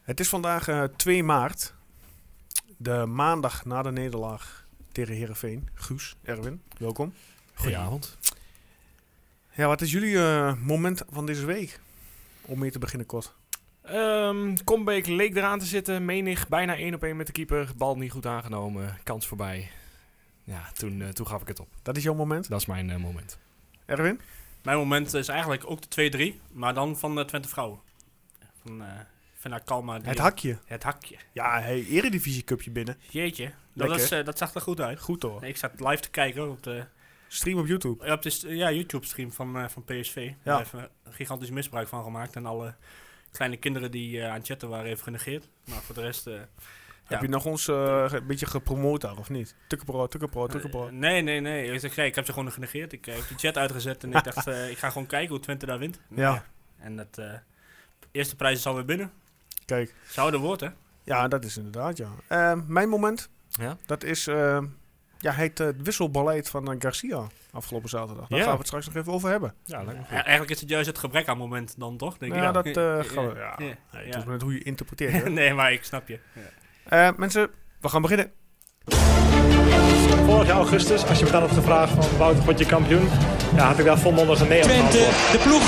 Het is vandaag eh, 2 maart, de maandag na de nederlaag tegen Herenveen. Guus, Erwin, welkom. Goedenavond. Ja, wat is jullie eh, moment van deze week? Om mee te beginnen, kort. Ehm Combeek leek eraan te zitten. Menig bijna één op één met de keeper. Bal niet goed aangenomen. Kans voorbij. Ja, toen, eh, toen gaf ik het op. Dat is jouw moment, Dat is mijn eh, moment. Erwin? Mijn moment is eigenlijk ook de 2-3, maar dan van de Twente Vrouwen. Van, eh van haar Kalma. die- Het hakje. Het hakje. Ja, hey, Eredivisie Cupje binnen. Jeetje, dat, Lekker. was, eh, dat zag er goed uit. Goed hoor. Ik zat live te kijken op de, Stream op YouTube. op de st- ja, YouTube-stream van, eh, van PSV. Daar heeft eh, gigantisch misbruik van gemaakt en alle kleine kinderen die eh, aan het chatten waren heeft genegeerd. Maar voor de rest... eh, Heb je nog ons eh, een beetje gepromoot daar, of niet? Tukkenbro, tukkenbro, tukkenbro. eh, nee, nee, nee. Ik, zeg, nee, ik heb ze gewoon genegeerd. Ik eh, heb de chat uitgezet en ik dacht, eh, ik ga gewoon kijken hoe Twente daar wint. Ja. En dat eh, eerste prijs is alweer binnen. Kijk, Zou de woord, hè? ja, dat is inderdaad, ja. Eh, mijn moment, Ja? dat is eh, ja, het eh, wisselbeleid van eh, Garcia afgelopen zaterdag. Daar Ja. gaan we het straks nog even over hebben. Ja, lijkt me Ja, eigenlijk is het juist het gebrek aan moment dan, toch? Denk ja, ik. dat eh, gaan we. Ja. Ja. Nee, het Ja. is maar net hoe je interpreteert. hè. nee, maar ik snap je. Ja. Eh, mensen, we gaan beginnen. Vorig jaar augustus, als je me dan had gevraagd van Wouter, word je kampioen? Ja, had ik daar volmondig een nee op Twente, geantwoord. de ploeg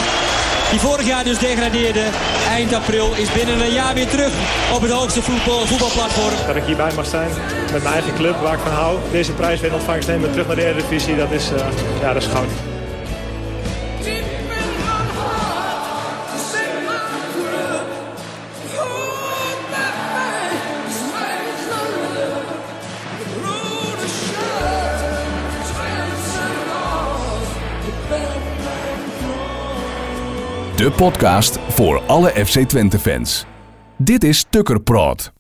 die vorig jaar dus degradeerde, eind april is binnen een jaar weer terug op het hoogste voetbal, voetbalplatform. Dat ik hierbij mag zijn met mijn eigen club, waar ik van hou. Deze prijs weer in ontvangst nemen, terug naar de Eredivisie, dat is, eh, ja, dat is goud. De podcast voor alle FC Twente fans. Dit is Tukker Praat.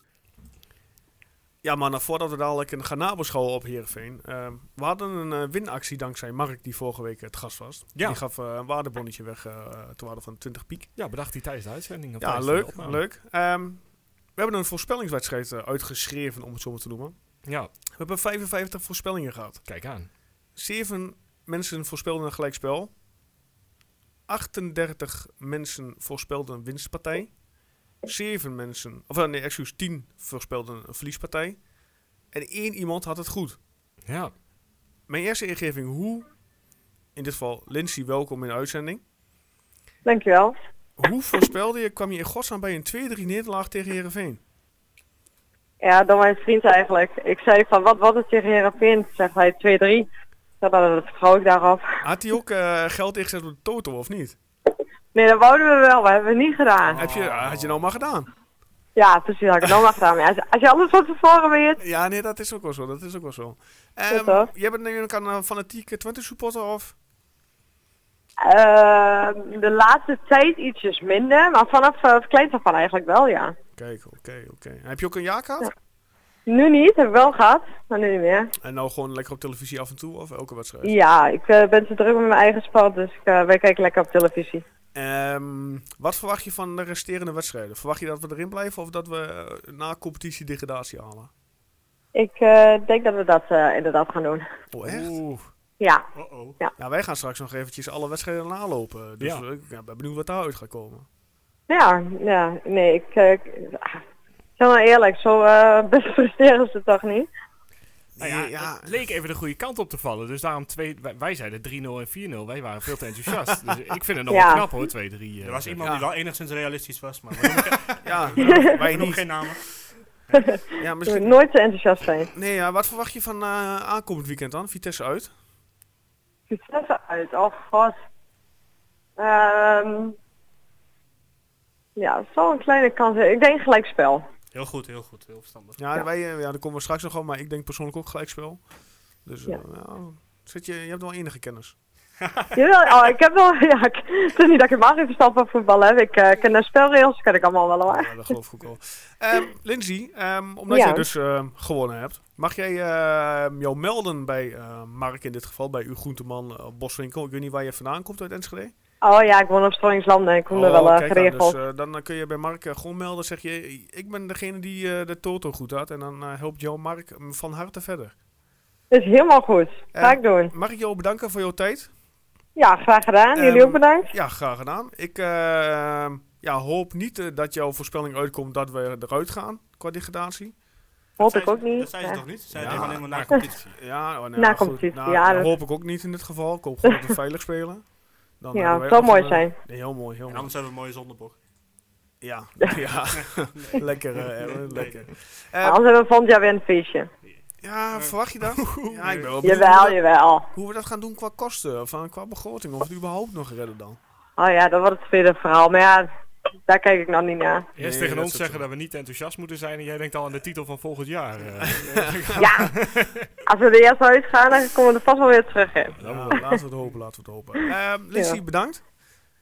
Ja, maar nou, voordat we dadelijk een gaan nabeschouwen op Heerenveen. eh, we hadden een eh, winactie dankzij Mark, die vorige week het gast was. Ja. Die gaf eh, een waardebonnetje weg eh te waarde van 20 piek. Ja, bedacht hij tijdens de uitzending. of Ja, tijdens de leuk, opname. leuk. Ehm, we hebben een voorspellingswedstrijd eh, uitgeschreven, om het zo maar te noemen. Ja, We hebben 55 voorspellingen gehad. kijk aan. Zeven mensen voorspelden een gelijkspel. 38 mensen voorspelden een winstpartij. Zeven mensen, of eh, nee, excuus, 10 voorspelden een verliespartij. En één iemand had het goed. Ja, Mijn eerste ingeving, hoe, in dit geval Lindsay, welkom in de uitzending. Dankjewel. Hoe voorspelde je, kwam je in godsnaam bij een 2-3 nederlaag tegen Herenveen? Ja, door mijn vriend eigenlijk. Ik zei van, wat was het tegen Heerenveen? Zegt hij 2-3. Ik zei, nou, Dat vertrouw ik daarop. Had hij ook eh, geld ingezet op de toto of niet? Nee, dat wouden we wel, maar hebben we niet gedaan. Heb je, had je nou maar gedaan? Ja, precies, had ik het nog maar gedaan. Maar ja, als- als je alles van tevoren weet... Ja, nee, dat is ook wel zo. Dat is ook wel zo. Goed, Ehm hoor. jij bent natuurlijk een eh, fanatieke Twente supporter of? eh, de laatste tijd ietsjes minder, maar vanaf eh, het kleins af aan eigenlijk wel, ja. Kijk, oké, oké. En Heb je ook een jaarkaart? Nu niet, heb ik wel gehad, maar nu niet meer. En nou gewoon lekker op televisie af en toe of elke wedstrijd? Ja, ik eh, ben te druk met mijn eigen spel, dus ik, eh, wij kijken lekker op televisie. Ehm, wat verwacht je van de resterende wedstrijden? Verwacht je dat we erin blijven of dat we eh, na competitie degradatie halen? Ik eh, denk dat we dat eh, inderdaad gaan doen. Oh, echt? Oeh. Ja, Uh-oh. Ja, wij gaan straks nog eventjes alle wedstrijden nalopen. Dus Ja. eh, ik ja, ben benieuwd wat daaruit gaat komen. Ja, ja, nee, ik... eh, ik- ah, zeg maar eerlijk, zo eh best frustreren ze toch niet? Nou Eh, ja, Het leek even de goede kant op te vallen. Dus daarom twee, wij, wij zeiden 3-0 en 4-0. Wij waren veel te enthousiast. dus ik vind het nog Ja. wel knap hoor, 2-3. eh, Er was iemand Ja. die wel enigszins realistisch was, maar we noemen, ja, wij we noemen niet. geen namen. Ja, Je moet misschien... nooit te enthousiast zijn. Nee, ja, wat verwacht je van eh, aankomend weekend dan? Vitesse uit? Succes uit, oh god. Ehm ja, het zal een kleine kans zijn. Ik denk gelijkspel. Heel goed, heel goed, heel verstandig. Ja, Ja. Wij, eh, ja, daar komen we straks nog op, maar ik denk persoonlijk ook gelijkspel. Dus eh, ja, zit je, je hebt wel enige kennis. Jawel, oh, ik heb wel... Ja, ik, het is niet dat ik helemaal geen verstand van voetbal heb. Ik eh, ken de spelregels, ken ik allemaal wel hoor. Ja, dat geloof ik ook wel. Ehm Lindsay, ehm, omdat Ja. jij dus ehm, gewonnen hebt, mag jij ehm, jou melden bij eh, Mark in dit geval, bij uw groenteman eh, Boswinkel. Ik weet niet waar je vandaan komt uit Enschede. Oh ja, ik woon op Strongingslanden en ik kom er wel eh, kijk aan, geregeld. dus, eh, dan eh, kun je bij Mark eh, gewoon melden, zeg je, ik ben degene die eh, de toto goed had. En dan eh, helpt jou Mark hem van harte verder. Is helemaal goed. Ga Eh, ik doen. Mag ik jou bedanken voor jouw tijd? Ja, graag gedaan. Jullie ehm, ook bedankt. Ja, graag gedaan. Ik, eh, ja, hoop niet eh, dat jouw voorspelling uitkomt dat we eruit gaan qua degradatie. Hoop Dat ik zei ook ze- Dat niet. zei ze Ja. toch niet? Ze zei Ja. alleen maar helemaal na competitie. Ja, oh, nee, Na goed, competitie, nou, ja, nou, dat- hoop ik ook niet in dit geval. Ik hoop gewoon dat we veilig spelen. Dan Ja, hebben wij het zou ook een, mooi eh, zijn. nee, heel mooi, heel En mooi. anders hebben we een mooie zondebok. Ja, ja. lekker, eh, Erwin, lekker. Eh, Anders hebben we volgend jaar weer een feestje. ja, verwacht je dat? Ja, ik ben wel benieuwd hoe Jawel, we, jawel. hoe we dat gaan doen qua kosten, of eh, qua begroting, of we het überhaupt nog redden dan. Oh ja, dat wordt het tweede verhaal. Maar ja, daar kijk ik nog niet naar. Eerst Nee, tegen dat ons is zeggen zo. dat we niet enthousiast moeten zijn en jij denkt al aan de titel van volgend jaar. eh. Ja, als we er eerst uitgaan, dan komen we er vast wel weer terug in. Ja, laten we het hopen, laten we het hopen. Ehm Lizzie, Ja. bedankt.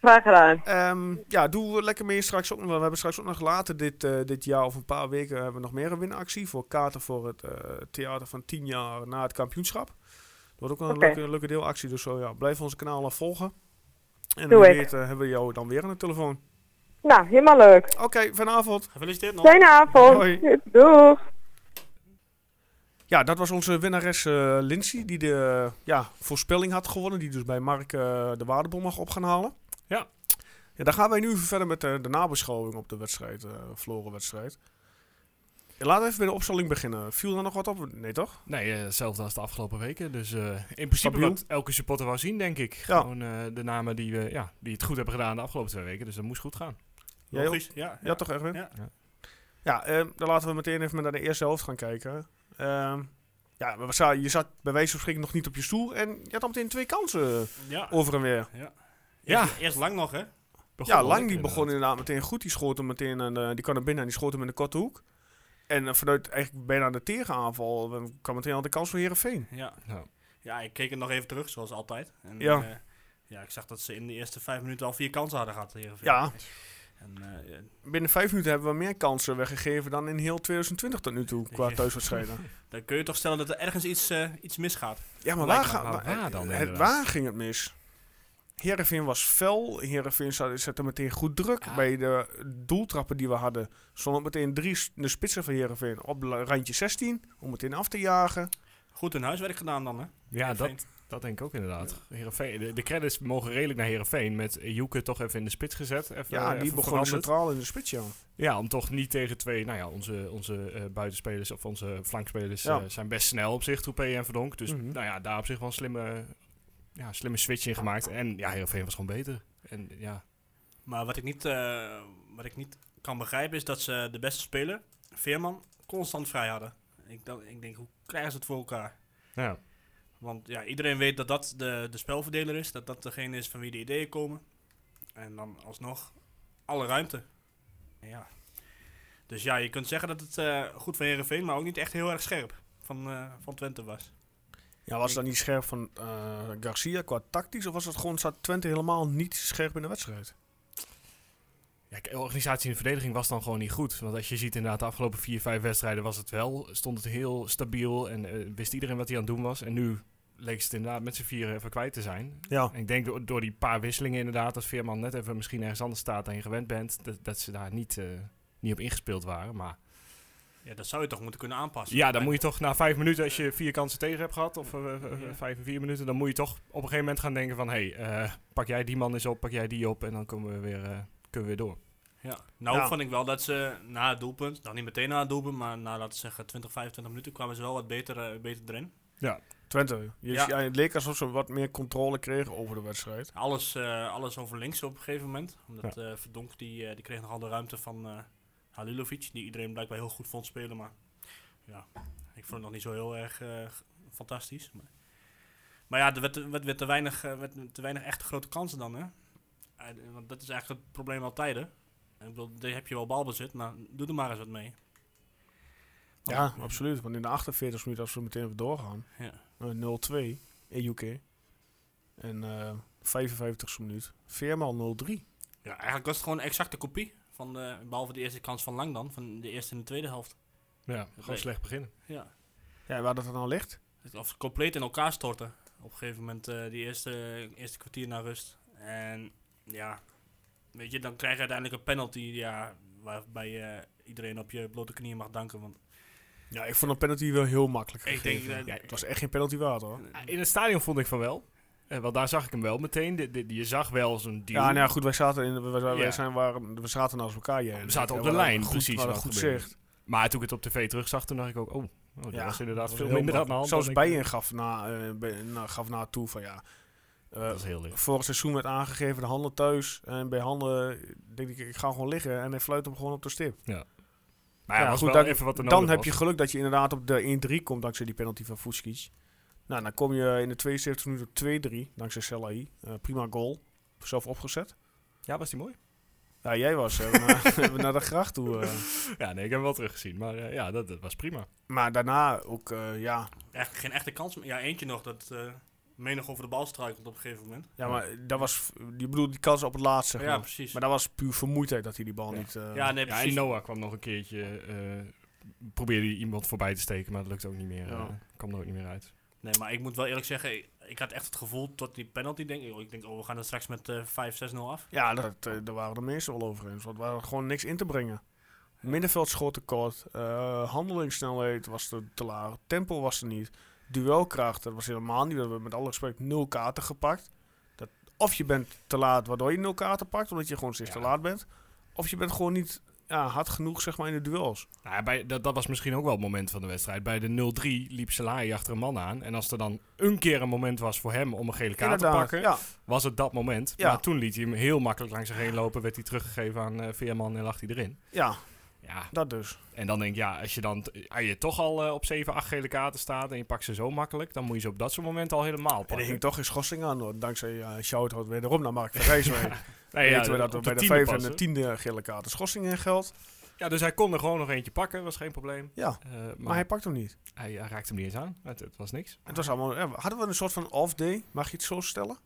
Graag gedaan. Ehm, ja, doe eh, lekker mee straks ook nog. We hebben straks ook nog later dit, eh, dit jaar of een paar weken hebben we nog meer een winactie voor kaarten voor het eh, theater van 10 jaar na het kampioenschap. Dat wordt ook wel een Oké. leuke, leuke deelactie. Dus zo ja, blijf onze kanalen volgen. En Doe wie ik. weet eh, hebben we jou dan weer aan de telefoon. Nou, helemaal leuk. Oké, vanavond. Gefeliciteerd nog. Fijne avond. Hoi. Doeg. Ja, dat was onze winnares eh Lindsay, die de ja, voorspelling had gewonnen. Die dus bij Mark eh, de waardebom mag op gaan halen. Ja. ja. Dan gaan wij nu verder met eh, de nabeschouwing op de wedstrijd, eh verloren wedstrijd. Ja, laten we even bij de opstelling beginnen. Viel er nog wat op? Nee, toch? Nee, eh, hetzelfde als de afgelopen weken. Dus eh, in principe Stabiel. wat elke supporter wou zien, denk ik. Ja. Gewoon eh, de namen die, we, ja, die het goed hebben gedaan de afgelopen twee weken. Dus dat moest goed gaan. Jij ook? Logisch, ja. Ja, toch Erwin? Ja. Ja. Ja, ehm, dan laten we meteen even naar de eerste helft gaan kijken. Ehm, ja, we za- je zat bij wijze van spreken nog niet op je stoel en je had al meteen twee kansen Ja. over en weer. Ja. Eerst, eerst lang nog, hè? Begon Ja, wel Lang lekker, die begon inderdaad. inderdaad meteen goed. Die schoot hem meteen en die kan er binnen en die schoot hem in de korte hoek. En eh, vanuit eigenlijk bijna de tegenaanval eh, kwam meteen al de kans voor Herenveen. Ja. Ja. ja, ik keek het nog even terug, zoals altijd. En, Ja. eh, ja, ik zag dat ze in de eerste vijf minuten al vier kansen hadden gehad. Heerenveen. Ja, En, eh, binnen vijf minuten hebben we meer kansen weggegeven dan in heel 2020 tot nu toe qua Ja. thuiswedstrijden. dan kun je toch stellen dat er ergens iets, eh, iets misgaat. Ja, maar waar, Lijkt me gaan, wel waar, waar dan het- inderdaad. waar ging het mis? Herenveen was fel. Herenveen zette meteen goed druk Ja. bij de doeltrappen die we hadden. Stonden meteen drie s- de spitsen van Herenveen op la- randje 16 om meteen af te jagen. Goed hun huiswerk gedaan dan, hè? Ja, Heerenveen. dat, dat denk ik ook inderdaad. Heerenveen, de, de credits mogen redelijk naar Herenveen. Met Joeke toch even in de spits gezet. Even, eh, Ja, die even begonnen veranderd. centraal in de spits, ja. Ja, om toch niet tegen twee, nou ja, onze, onze eh, buitenspelers of onze flankspelers Ja. eh, zijn best snel op zich, Troepé en Verdonk. Dus Mhm. nou ja, daar op zich wel een slimme, ja, slimme switch in gemaakt. En ja, Heerenveen was gewoon beter. En ja, Maar wat ik, niet, eh, wat ik niet kan begrijpen is dat ze de beste speler, Veerman, constant vrij hadden. Ik, dan, ik denk, hoe krijgen ze het voor elkaar? nou ja. Want ja, iedereen weet dat dat de, de spelverdeler is. Dat dat degene is van wie de ideeën komen. En dan alsnog alle ruimte. Ja. Dus ja, je kunt zeggen dat het eh, goed van Herenveen, maar ook niet echt heel erg scherp van, eh, van Twente was. Ja, was dat niet scherp van eh, Garcia qua tactisch? Of was het gewoon, zat Twente helemaal niet scherp in de wedstrijd? Ja, kijk, organisatie en verdediging was dan gewoon niet goed. Want als je ziet inderdaad de afgelopen vier, vijf wedstrijden was het wel. Stond het heel stabiel en eh, wist iedereen wat hij aan het doen was. En nu leek ze het inderdaad met z'n vieren even kwijt te zijn. Ja. En ik denk door, door die paar wisselingen inderdaad, dat Veerman net even misschien ergens anders staat dan je gewend bent. Dat, dat ze daar niet, eh, niet op ingespeeld waren. Maar Ja, dat zou je toch moeten kunnen aanpassen. ja, dan En- moet je toch na vijf minuten, als je vier kansen tegen hebt gehad, of eh, eh, eh, vijf en vier minuten, dan moet je toch op een gegeven moment gaan denken van... Hé, hey, eh, pak jij die man eens op, pak jij die op en dan kunnen we weer, eh, kunnen we weer door. Ja. Nou Ja. vond ik wel dat ze na het doelpunt, nou niet meteen na het doelpunt, maar na laten we zeggen 20, 25 minuten kwamen ze wel wat beter, eh, beter erin. Twente, je, Ja. ja, het leek alsof ze wat meer controle kregen over de wedstrijd. Alles, eh, alles over links op een gegeven moment. Omdat eh, Verdonk die, eh, die kreeg nogal de ruimte van eh Halilovic, die iedereen blijkbaar heel goed vond spelen. Maar ja, ik vond het nog niet zo heel erg eh, g- fantastisch. Maar, maar ja, er werd, werd, werd te weinig, eh, werd te weinig echt grote kansen dan. Hè? Eh, want dat is eigenlijk het probleem al tijden. Ik bedoel, daar heb je wel balbezit, maar doe er maar eens wat mee. eh, Ja, absoluut. Want in de 48 minuut, als we meteen even doorgaan, Ja. eh, 0-2 in UK. En eh 55 minuut, Veerman 0-3. Ja, eigenlijk was het gewoon een exacte kopie. Van de, behalve de eerste kans van Lang dan, van de eerste en de tweede helft. Ja, gewoon Nee. slecht beginnen. Ja. Ja, waar dat dan nou ligt? Het- Of ze compleet in elkaar storten. Op een gegeven moment eh, die eerste, eerste kwartier naar rust. En ja, weet je, dan krijg je uiteindelijk een penalty ja, waarbij je iedereen op je blote knieën mag danken. Want Ja, ik vond een penalty wel heel makkelijk Ik gegeven. denk dat- eh, Ja, het was echt geen penalty waard hoor. In het stadion vond ik van wel. Eh, want daar zag ik hem wel meteen. De- de- je zag wel zo'n deal. Ja, nou ja, goed, wij zaten, in, wij, wij Ja. zijn, waren, we zaten naast elkaar. Ja, We zaten op de hadden lijn, goed, precies, we hadden wat goed gebeurde. zicht. Maar toen ik het op tv terugzag, toen dacht ik ook, oh, oh dat Ja, was inderdaad Dat was veel heel minder aan de hand. makkelijk. Zelfs dan ik- Bijen gaf na, eh, bij- na- gaf na toe van ja. eh, Dat is heel licht. vorig seizoen werd aangegeven de handen thuis. En bij handen eh, denk ik, ik ga gewoon liggen. En hij fluit hem gewoon op de stip. Maar Ah ja, Ja, was goed, wel dan- even wat er dan nodig heb was. je geluk dat je inderdaad op de 1-3 komt dankzij die penalty van Fuskic. Nou, dan kom je in de 72 minuten op 2-3 dankzij Selahi. Eh, prima goal. Zelf opgezet. Ja, was die mooi? Ja, jij was eh, naar, naar de gracht toe. eh. Ja, nee, ik heb hem wel teruggezien. Maar eh, ja, dat, dat was prima. Maar daarna ook, eh, ja. Eigenlijk geen echte kans meer. Ja, eentje nog dat eh menig over de bal struikelt op een gegeven moment. Ja, maar dat was, je bedoelt die kans op het laatste. ja, precies. Maar dat was puur vermoeidheid dat hij die bal Ja. niet... eh, ja, nee, Ja, en precies. Noah kwam nog een keertje, eh, probeerde iemand voorbij te steken, maar dat lukte ook niet meer. Ja. eh, kwam er ook niet meer uit. Nee, maar ik moet wel eerlijk zeggen, ik- ik had echt het gevoel tot die penalty denk ik. oh, Ik denk, oh, we gaan er straks met eh 5-6-0 af. Ja, dat, eh, daar waren de meesten wel over eens. Want er waren gewoon niks in te brengen. Middenveld schoot tekort. eh, handelingssnelheid was te, te laag. Tempo was er niet. Duelkracht, dat was helemaal niet. We hebben met alle respect nul kaarten gepakt. Dat, of je bent te laat, waardoor je nul kaarten pakt, omdat je gewoon steeds te Ja. laat bent. Of je bent gewoon niet ja, hard genoeg zeg maar, in de duels. Nou, ja, bij, dat, dat was misschien ook wel het moment van de wedstrijd. Bij de 0-3 liep Salahi achter een man aan. En als er dan een keer een moment was voor hem om een gele kaart te pakken, Ja, was het dat moment. Ja. Maar toen liet hij hem heel makkelijk langs zich heen lopen, werd hij teruggegeven aan eh, Veerman en lag hij erin. ja, Ja, dat dus. en dan denk ik, ja, als je dan t- als je toch al eh, op 7, 8 gele kaarten staat en je pakt ze zo makkelijk, dan moet je ze op dat soort momenten al helemaal En er pakken. hing toch geen schorsing aan, hoor, dankzij uh, shout-out wederom naar Mark van Rijswijk. Nee, ja, weten we dat op we bij de tiende vijfde en passen. de tiende gele kaart de schorsing in geldt. Ja, dus hij kon er gewoon nog eentje pakken, was geen probleem. Ja, Eh, maar maar hij hij, pakt hem niet. hij, raakte hem niet eens aan. Het, het was niks. Het was allemaal, ja, hadden we een soort van off-day? Mag je het zo stellen?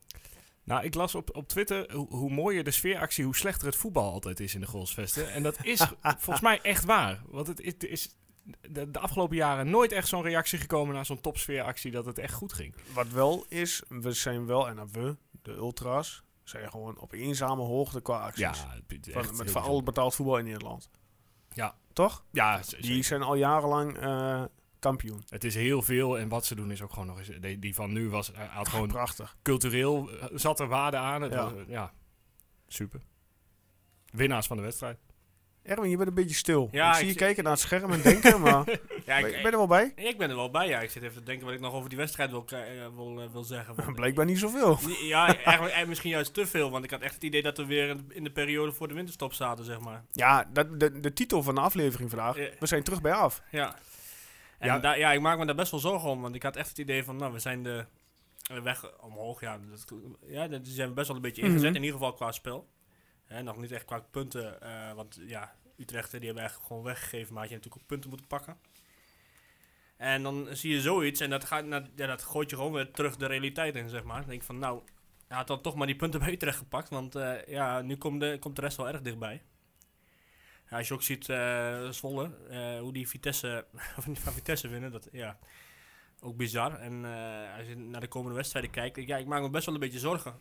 Nou, ik las op, op Twitter hoe, hoe mooier de sfeeractie, hoe slechter het voetbal altijd is in de goalsvesten. En dat is volgens mij echt waar. Want het is, het is de, de afgelopen jaren nooit echt zo'n reactie gekomen naar zo'n topsfeeractie dat het echt goed ging. Wat wel is, we zijn wel, en dan we, de ultras, zijn gewoon op eenzame hoogte qua Ja, acties. het is Van- echt heel met vooral bijzonder. betaald voetbal in Nederland. Ja. Toch? Ja, z- Die zijn al jarenlang eh, kampioen. Het is heel veel en wat ze doen is ook gewoon nog eens. Die, die van nu was, hij had gewoon Prachtig. cultureel eh, zat er waarde aan. Het Ah, Ja. was, eh, ja, super. Winnaars van de wedstrijd. Erwin, je bent een beetje stil. Ja, ik zie ik je zi- kijken naar het scherm en denken, maar Ja, ik eh, ben ik, er wel bij. ik ben er wel bij. Ja. Ik zit even te denken wat ik nog over die wedstrijd wil, kri- eh, wil, eh, wil zeggen. want- Blijkbaar niet zoveel. Nee, Ja, eigenlijk, eigenlijk misschien juist te veel. Want ik had echt het idee dat we weer in- in de periode voor de winterstop zaten, zeg maar. Ja, dat, de, de titel van de aflevering vandaag, Ja. we zijn terug bij af. Ja. En Ja. ja. ja, ik maak me daar best wel zorgen om. Want ik had echt het idee van, nou, we zijn de de weg omhoog. Ja, dat, ja, dat zijn we best wel een beetje ingezet. Mhm. In ieder geval qua spel. Hè, nog niet echt qua punten. eh, want ja, Utrecht eh, die hebben eigenlijk gewoon weggegeven. Maar had je natuurlijk ook punten moeten pakken. En dan zie je zoiets en dat, gaat, naar- ja, dat gooit je gewoon weer terug de realiteit in, zeg maar. Dan denk ik van, nou, hij had dan toch maar die punten bij Utrecht gepakt. Want eh, ja, nu komt de, komt de rest wel erg dichtbij. Ja, als je ook ziet, eh, Zwolle, eh, hoe die Vitesse, van Vitesse winnen, dat ja, ook bizar. En eh, als je naar de komende wedstrijden kijkt, ik- ja, ik maak me best wel een beetje zorgen.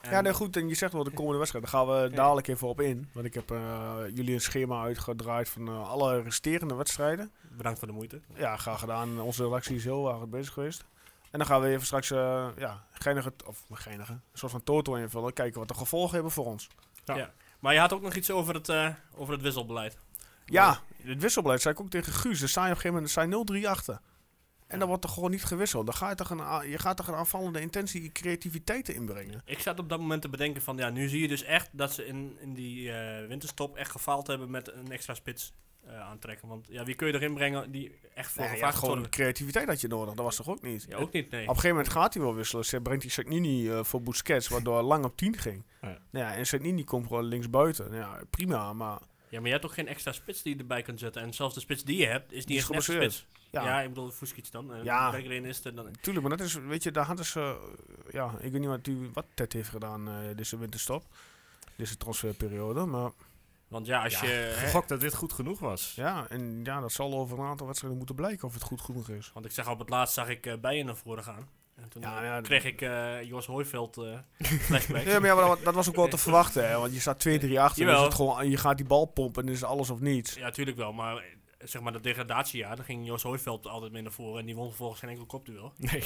En- Ja, nee, goed. En je zegt wel de komende wedstrijd. Daar gaan we dadelijk even op in. Want ik heb eh, jullie een schema uitgedraaid van eh, alle resterende wedstrijden. Bedankt voor de moeite. Ja, graag gedaan. Onze redactie is heel erg goed bezig geweest. En dan gaan we even straks eh ja, geinige, of geinige, een soort van toto invullen. Kijken wat de gevolgen hebben voor ons. Maar je had ook nog iets over het, eh, over het wisselbeleid. Ja, het wisselbeleid zei ik ook tegen Guus. Er staan op een gegeven moment er staan 0-3 achter. En dan wordt er gewoon niet gewisseld. Dan ga je, toch een, a- je gaat toch een aanvallende intentie en creativiteit inbrengen. Ik zat op dat moment te bedenken van, ja, nu zie je dus echt dat ze in, in die eh, winterstop echt gefaald hebben met een extra spits eh, aantrekken. Want ja, wie kun je erin brengen die echt voor Nee, nee, ja, gewoon gewoon... creativiteit had je nodig. Dat was toch ook niet? Ja, ook niet, nee. Op een gegeven moment gaat hij wel wisselen. Ze brengt die Sagnini eh, voor Busquets, waardoor lang op 10 ging. Ja. Nou ja, en Sagnini komt gewoon linksbuiten. Nou Ja, prima, maar Ja, maar je hebt toch geen extra spits die je erbij kunt zetten. En zelfs de spits die je hebt, is niet Die is echt een echte geblesseerd. spits. ja, Ja. ik bedoel, Fuskic dan. eh, Ja. Bergeren is er dan. tuurlijk. Maar dat is, weet je, daar hadden ze, eh, ja, ik weet niet wat, die, wat Ted heeft gedaan eh, deze winterstop. Deze transferperiode, maar Want ja, als Ja, je... hè, Gok dat dit goed genoeg was. Eh. ja, en ja, dat zal over een aantal wedstrijden moeten blijken of het goed genoeg is. want ik zeg op het laatst zag ik eh bijen naar voren gaan. En toen Ja, eh, ja, dat- kreeg ik eh Jos Hooiveld eh flashback. Ja, maar ja, maar dat, dat was ook wel te verwachten, hè, want je staat 2-3 achter, dan is Jawel. het gewoon, je gaat die bal pompen en dan is het alles of niets. Ja, tuurlijk wel. Maar eh, zeg maar dat degradatiejaar, dan ging Jos Hooiveld altijd mee naar voren. En die won vervolgens geen enkel kopduel. Nee.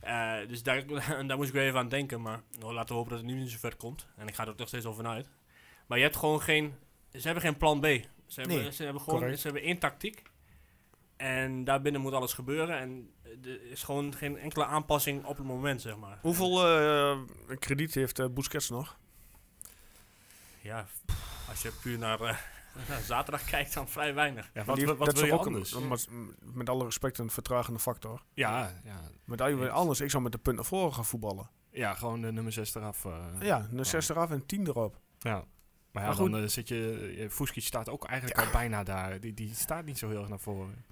Eh, dus daar, daar moest ik weer even aan denken. Maar nou, laten we hopen dat het nu zo ver komt. En ik ga er ook nog steeds over uit. Maar je hebt gewoon geen... Ze hebben geen plan B. Ze hebben, Nee, ze hebben, gewoon, correct. ze hebben één tactiek. En daarbinnen moet alles gebeuren. En eh, er is gewoon geen enkele aanpassing op het moment, zeg maar. Hoeveel eh, krediet heeft eh, Busquets nog? Ja, als je puur naar, eh, naar zaterdag kijkt, dan vrij weinig. Ja, Want wat, die- wat, wat dat wil is je toch ook een- anders? een- maar- m- met alle respect een vertragende factor. Ja, ja, Met al je Eens. anders, ik zou met de punt naar voren gaan voetballen. ja, gewoon de nummer 6 eraf. eh. ja. Ja, een 6 eraf en 10 erop. Maar ja, Maar goed. dan eh, zit je... eh, Fuskic staat ook eigenlijk al bijna daar. Die, die staat niet zo heel erg naar voren.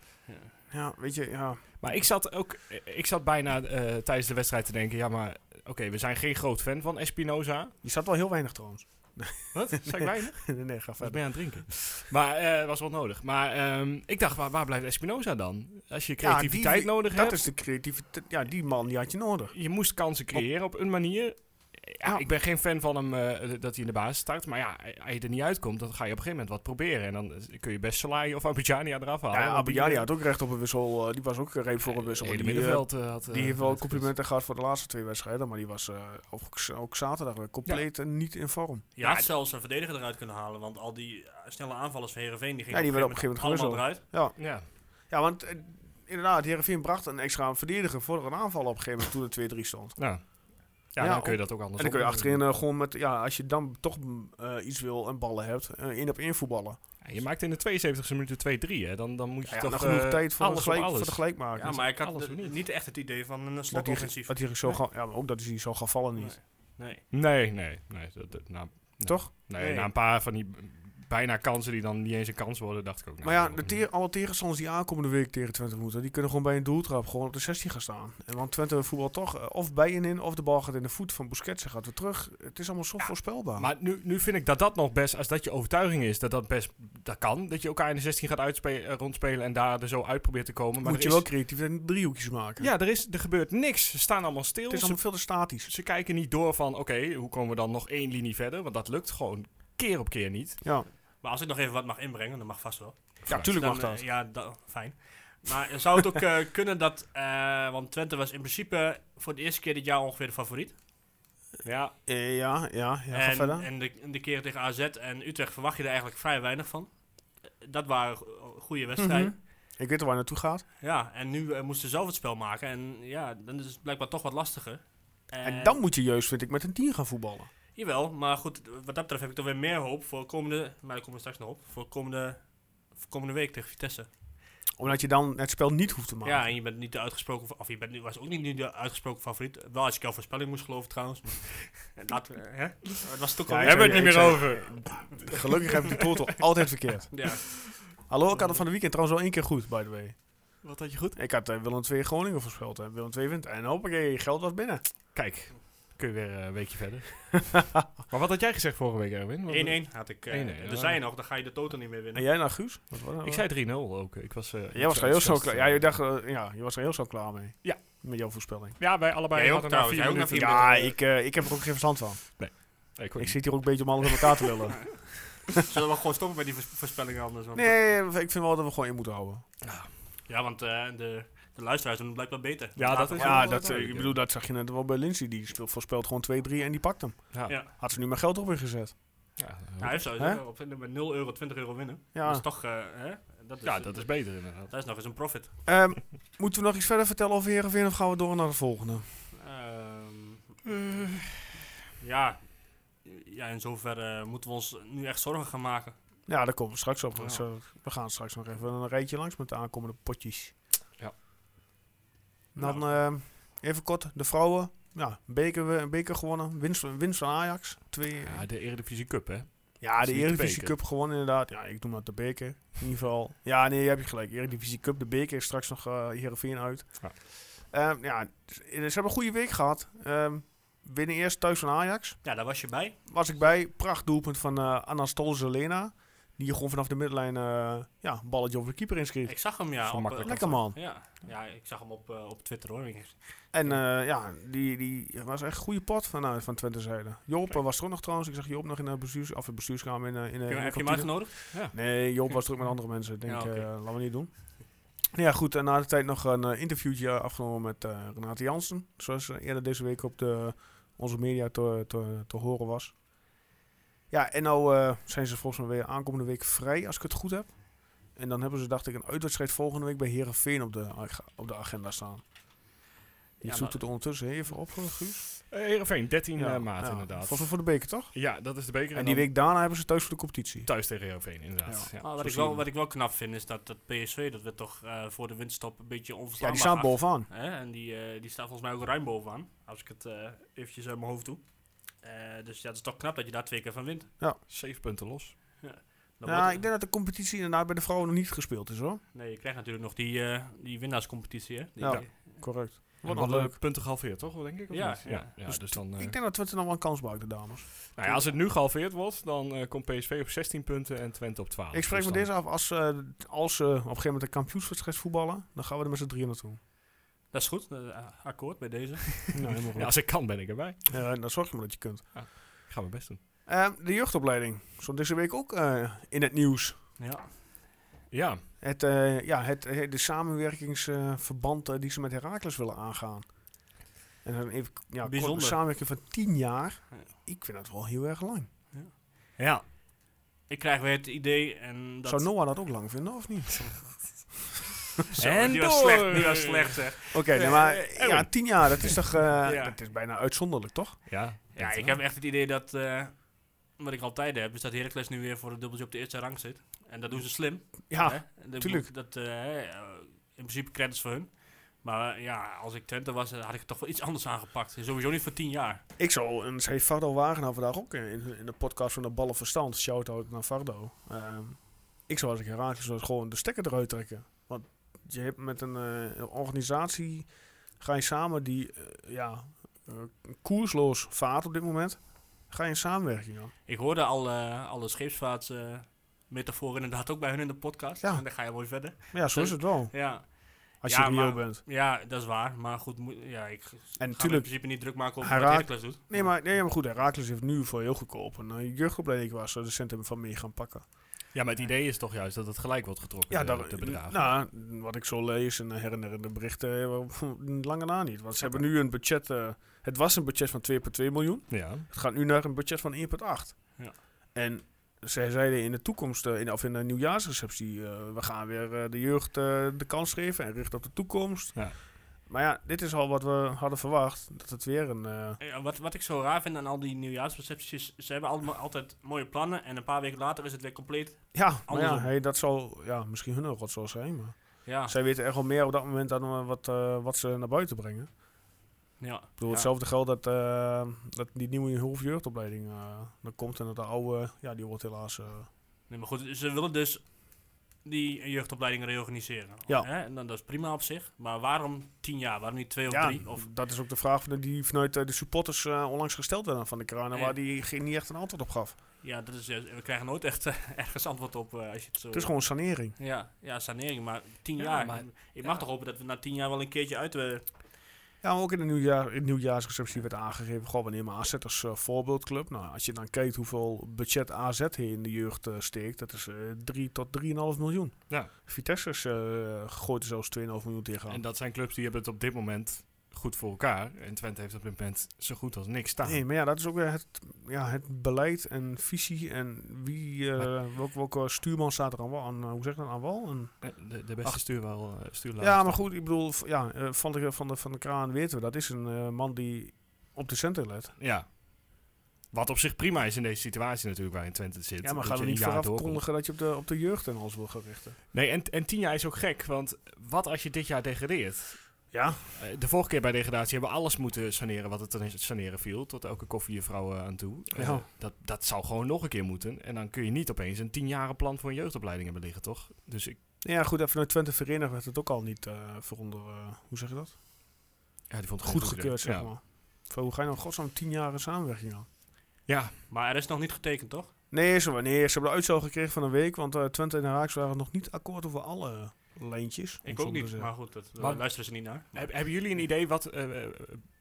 Ja, weet je, ja. Maar ik zat ook, ik zat bijna eh, tijdens de wedstrijd te denken, ja maar, oké, we zijn geen groot fan van Espinoza. Je zat wel heel weinig trouwens. Wat? Zijn ik weinig? nee, nee, ga Ik verder. ben aan het drinken. Maar eh was wel nodig. Maar ehm, ik dacht, waar, waar blijft Espinoza dan? Als je creativiteit die- nodig Dat hebt, is de creativiteit. Ja, die man die had je nodig. je moest kansen creëren op een manier. Ja, Ja. ik ben geen fan van hem eh, dat hij in de basis start, maar ja, als je er niet uitkomt, dan ga je op een gegeven moment wat proberen. En dan eh, kun je best Salai of Abidjania eraf halen. Ja, Want Ah, die- eh, Abiyari had ook recht op een wissel. eh, die was ook reep voor een wissel. hele maar die, eh, middenveld eh, had... eh, die heeft wel had- complimenten gehad voor de laatste twee wedstrijden. Maar die was eh, ook, ook zaterdag weer compleet eh, niet in vorm. Je had zelfs een verdediger eruit kunnen halen, want al die eh, snelle aanvallers van Herenveen die gingen Ja, die werden op een gegeven allemaal eruit. Ja, Ja, want eh, inderdaad, Heerenveen bracht een extra verdediger voor een aanval op een gegeven moment toen het 2-3 stond. nou. Ja, Ja, dan kun je dat ook anders En dan kun je oplossen. achterin eh, gewoon met, ja, als je dan toch mm, eh, iets wil en ballen hebt, eh, één op één voetballen. Ja, je maakt in de 72e minuut 2-3, hè? Dan, dan moet je Ja, toch nog genoeg eh, tijd voor, alles de gelijk, op voor alles. de gelijkmaker. Ja, maar ik had alles de- of niet. niet echt het idee van een dat eh, hij, slotoffensief. dat hij zo gaan, ja, maar ook dat hij zo gaan vallen niet. Nee. Nee, nee, nee. Dat, dat- nou, nee. Toch? Nee, Nee. na een paar van die b- bijna kansen die dan niet eens een kans worden, dacht ik ook. nou, Maar ja, dan- de te- alle tegenstanders die aankomende week tegen Twente moeten, die kunnen gewoon bij een doeltrap gewoon op de 16 gaan staan. En want Twente voetbal toch eh, of bij en in, of de bal gaat in de voet van Busquets en gaat weer terug. Het is allemaal zo voorspelbaar. Maar nu, nu vind ik dat dat nog best, als dat je overtuiging is, dat dat best dat kan. Dat je elkaar in de 16 gaat uitspe- eh, rondspelen en daar er zo uit probeert te komen. Maar Moet je er wel is, creatief en driehoekjes maken. Ja, er, is, er gebeurt niks. Ze staan allemaal stil. het is Ze, allemaal veel te statisch. ze kijken niet door van, oké, hoe komen we dan nog één linie verder? Want dat lukt gewoon keer op keer niet. Ja, Maar als ik nog even wat mag inbrengen, dan mag vast wel. Vooruit. tuurlijk Dan, mag dat. eh, ja, da- fijn. Maar zou het ook eh, kunnen dat... eh, want Twente was in principe voor de eerste keer dit jaar ongeveer de favoriet. Ja, Eh, ja, ja, ja, ga en verder. en de, de keer tegen AZ en Utrecht verwacht je er eigenlijk vrij weinig van. Eh, Dat waren go- goede wedstrijden. Mhm. Ik weet al waar je naartoe gaat. Ja, en nu eh, moesten ze zelf het spel maken. En ja, dan is het blijkbaar toch wat lastiger. En dan moet je juist, vind ik, met een 10 gaan voetballen. Jawel, maar goed, wat dat betreft heb ik toch weer meer hoop voor komende... Maar daar komen we straks nog op. Voor komende, voor komende week tegen Vitesse. Omdat je dan het spel niet hoeft te maken. Ja, en je bent niet de uitgesproken... fa- Of je bent, nu- was ook niet de uitgesproken favoriet. Wel als ik jouw voorspelling moest geloven trouwens. En dat, eh, hè? Het was toch Ja, al... ik Ja, zei- ik zei- over. Gelukkig heb ik de total altijd verkeerd. Hallo, ik had het van de weekend trouwens wel één keer goed, by the way. Wat had je goed? Ik had eh, Willem 2 Groningen voorspeld. En Willem 2 wint. En hoppakee, geld was binnen. Kijk, kun je weer eh, een weekje verder. maar wat had jij gezegd vorige week, Erwin? Want- 1-1 had ik. 1-1, eh ja. Ah, er zijn nog, dan ga je de totaal niet meer winnen. En jij nou, Guus? Wat was dat? Ik zei 3-0 ook. Ik was, eh, Jij was zo er heel zo enthousiast, klaar. eh. Ja, je, dacht, eh, ja, je was er heel zo klaar mee. Ja. Met jouw voorspelling. Ja, wij allebei Jij ook hadden na trouwens, vier jij ook na minuten- Ja, vier ik, eh, ik heb er ook geen verstand van. Ja, ik, hoor Ik niet. zit hier ook een beetje om alles in elkaar te willen. Zullen we gewoon stoppen met die voors- voorspellingen anders? want- Nee, ik vind wel dat we gewoon in moeten houden. Ja, want eh, de, de luisteraars doen het blijkbaar beter. Ja, dat Ja, is- wel dat, eh, duidelijk, ik ja. bedoel, dat zag je net wel bij Lindsay. Die speel- voorspelt gewoon 2-3 en die pakt hem. Ja. Ja. Had ze nu mijn geld op weer gezet. Ja, Ja, hij heeft sowieso Hè? op, met 0 euro 20 euro winnen. Dat is Ja. toch... eh, hè? Dat is, ja, dat is beter inderdaad. dat is nog eens een profit. Ehm, moeten we nog iets verder vertellen over Heerenveen of gaan we door naar de volgende? Ehm, ja. ja, in zoverre moeten we ons nu echt zorgen gaan maken. Ja, daar komen we straks op. want, Ja. eh, we gaan straks nog even een rijtje langs met de aankomende potjes. Ja. Dan ehm, even kort, de vrouwen. Ja, beker, we- beker gewonnen. Winst, winst van Ajax. Twee, Ja, de Eredivisie Cup, hè? ja, is de niet de Eredivisie beker. Cup gewonnen inderdaad. Ja, ik noem dat de beker. In ieder geval. Ja, nee, je hebt je gelijk. Eredivisie Cup, de beker is straks nog eh Heerenveen uit. Ja. Ehm, ja, ze hebben een goede week gehad. Ehm, winnen eerst thuis van Ajax Ja, daar was je bij. was ik bij. Prachtdoelpunt van eh Anastol Zelena. Die gewoon vanaf de middenlijn eh ja, een balletje over de keeper inschiet. Ik zag hem, ja. Zo Op, makkelijk eh, Lekker man. ja, ja, ik zag hem op, eh, op Twitter, hoor. Ik- En eh, ja, die, die was echt een goede pot vanuit van Twente zijde. Joop eh, was er ook nog trouwens. Ik zag Joop nog in de bestuurs, of in de bestuurskamer in, eh, in, eh, in de heb je hem kantine. uitgenodigd? Nee, Joop was druk met andere mensen. Ik denk, Ja, oké. eh, laten we niet doen. Ja, goed. En na de tijd nog een eh, interviewtje afgenomen met eh, Renate Jansen. Zoals eh, eerder deze week op de, onze media te, te, te horen was. Ja, en nou eh, zijn ze volgens mij weer aankomende week vrij, als ik het goed heb. En dan hebben ze, dacht ik, een uitwedstrijd volgende week bij Herenveen op de, ag- op de agenda staan. Je Ja, zoekt nou- het ondertussen even op, eh, Guus. Eh, Heerenveen, 13 Ja, eh, maart ja. inderdaad. Volgens mij voor de beker, toch? Ja, dat is de beker. En, die dan week daarna hebben ze thuis voor de competitie. thuis tegen Heerenveen inderdaad. Ja. zo Maar Nou, wat, ik zie je wel, hem. wat ik wel knap vind is dat, dat PSV, dat werd toch eh, voor de winststop een beetje Ja, onverslaanbaar die staan af- bovenaan. Hè? En die, eh, die staat volgens mij ook ruim bovenaan, als ik het eh, eventjes uit mijn hoofd doe. Eh, dus ja, het is toch knap dat je daar twee keer van wint. Zeven punten los. Dan ja, wordt- ik denk dat de competitie inderdaad bij de vrouwen nog niet gespeeld is, hoor. Nee, je krijgt natuurlijk nog die, eh, die winnaarscompetitie, hè? Die- Ja. Correct. Wat nog leuk. Punten gehalveerd, toch? Denk ik, of Ja, niet? ja. ja. ja, Dus dus, dan, eh, Ik denk dat Twente nog wel een kans maakt, de dames. nou ja, als het nu gehalveerd wordt, dan eh, komt PSV op 16 punten en Twente op 12. Ik spreek Dus me dan- deze af. Als ze als, ze op een gegeven moment een kampioenswedstrijd voetballen, dan gaan we er met z'n drieën naartoe. Dat is goed, eh, akkoord bij deze. Ja, als ik kan, ben ik erbij. Ja, en dan zorg je maar dat je kunt. Ik ga mijn best doen. Eh, de jeugdopleiding. Zo deze week ook eh, in het nieuws. ja. Ja, Het, eh, ja, het, eh, de samenwerkingsverband eh, die ze met Herakles willen aangaan. En dan even ja, kort, een Bijzonder. samenwerking van tien jaar. Ja. Ik vind dat wel heel erg lang. ja. Ik krijg weer het idee en dat... Zou Noah dat ook lang vinden, of niet? Zo, En die was door. slecht, die was slecht, hè. Oké, nee, maar eh, ja, Erwin. tien jaar, dat is toch eh, Ja. dat is bijna uitzonderlijk, toch? ja, Ja, ik heb echt het idee dat... eh, wat ik altijd heb, is dat Heracles nu weer voor het dubbeltje op de eerste rang zit. En dat doen ze slim. Ja, hè. En dat tuurlijk. moet- Dat, eh, eh, in principe credits voor hun. Maar eh, ja, als ik Twente was, eh, had ik het toch wel iets anders aangepakt. Sowieso niet voor tien jaar. Ik zou, en dat zei Vardo Wagenaar vandaag ook eh, in, in de podcast van de Ballen Verstand, shout-out naar Vardo. Ehm, ik zou als ik Herakles was gewoon de stekker eruit trekken. Want je hebt met een eh, organisatie, ga je samen die, eh, ja, eh, koersloos vaart op dit moment, ga je in samenwerking aan. Ik hoorde al, eh, alle scheepsvaartsmetaforen inderdaad ook bij hun in de podcast. Ja. En dan ga je mooi verder. Ja, zo is het wel, Ja, als Ja, je reëel maar- bent. ja dat is waar. Maar goed, moet- ja, ik ga me in tuurlijk- principe niet druk maken op Hij wat raakt- Heracles doet. Nee maar, nee, maar goed, Herakles heeft nu voor heel goedkoop een eh, jeugdopleiding waar ze de centen van mee gaan pakken. Ja, maar het idee is toch juist dat het gelijk wordt getrokken, Ja, ja, daar, de, de eh, bedragen. Nou, wat ik zo lees en her en der in de berichten, eh, lange na niet. Want ze hebben nu een budget, eh, het was een budget van 2,2 miljoen. ja. Het gaat nu naar een budget van 1,8. Ja. En zij zeiden in de toekomst, eh, in, of in de nieuwjaarsreceptie, eh, we gaan weer eh, de jeugd eh, de kans geven en richten op de toekomst. Ja. Maar ja, dit is al wat we hadden verwacht. Dat het weer een... eh, Ja, wat, wat ik zo raar vind aan al die nieuwjaarsrecepties, ze hebben allemaal altijd mooie plannen en een paar weken later is het weer compleet. ja, maar ja, Andersom. hey, dat zal ja, misschien hun ook wat zo zijn. Maar Ja, Ah. Zij weten echt wel meer op dat moment dan eh, wat, eh, wat ze naar buiten brengen. ja. Ik bedoel, hetzelfde geldt dat, eh, dat die nieuwe hoofdjeugdopleiding eh dan komt en dat de oude, ja, die wordt helaas... eh, Nee, maar goed, ze willen dus die jeugdopleiding reorganiseren. Ja. Hè? En dan, dat is prima op zich, maar waarom tien jaar? Waarom niet twee of ja, drie? Of, dat is ook de vraag van- die vanuit eh, de supporters eh, onlangs gesteld werd aan van de kraan en Ja. waar die geen, niet echt een antwoord op gaf. ja, dat is, eh, we krijgen nooit echt eh, ergens antwoord op eh, als je het zo... Het is gewoon sanering. ja, ja, sanering, maar tien Ja, jaar. maar- ik mag toch hopen dat we na tien jaar wel een keertje uit... eh, Ja, maar ook in de nieuwjaar, in de nieuwjaarsreceptie werd aangegeven, goh, wanneer maar AZ als eh, voorbeeldclub. Nou, als je dan kijkt hoeveel budget AZ hier in de jeugd eh, steekt, dat is eh 3 tot 3,5 miljoen. Ja. Vitesse is, eh, gooit er zelfs 2,5 miljoen tegenaan. En dat zijn clubs die hebben het op dit moment goed voor elkaar. En Twente heeft op dit moment zo goed als niks staan. Nee, maar ja, dat is ook weer het, ja, het beleid en visie en wie, eh, welk, welke stuurman staat er aan wal, aan, eh, hoe zeg je dat, aan wal? En, Eh, De, de beste Ach. stuur wel, eh, stuurlaag. ja, maar goed, ik bedoel, v- ja, eh, van, de, van, de, van de kraan weten we, dat is een eh, man die op de centen let. Ja. Wat op zich prima is in deze situatie natuurlijk waarin Twente zit. Ja, maar Dat ga je er een niet jaar vooraf doorkomt. kondigen dat je op de, op de jeugd en alles wil gaan richten. Nee, en, en tien jaar is ook gek, want wat als je dit jaar degradeert? Ja, Eh, De vorige keer bij degradatie hebben we alles moeten saneren wat het te saneren viel. Tot elke koffievrouw eh, aan toe. Eh, Ja. dat, dat zou gewoon nog een keer moeten. En dan kun je niet opeens een tienjaren plan voor een jeugdopleiding hebben liggen, toch? Dus ik, ja goed, en vanuit Twente Verenigd werd het ook al niet eh veronder, eh, hoe zeg je dat? ja, die vond het Goed geen goed idee. gekeurd, zeg ja. maar. Van, hoe ga je nou godsnaam tien jaar in samenwerking aan? Ja, Maar er is nog niet getekend, toch? Nee, ze, nee, ze hebben de uitstel gekregen van een week, want eh, Twente en Haaks waren nog niet akkoord over alle lijntjes. om Ik zo ook te niet, zeggen. maar goed, dat, daar Maar- luisteren ze niet naar. Maar- Heb- hebben jullie een idee wat... eh, eh,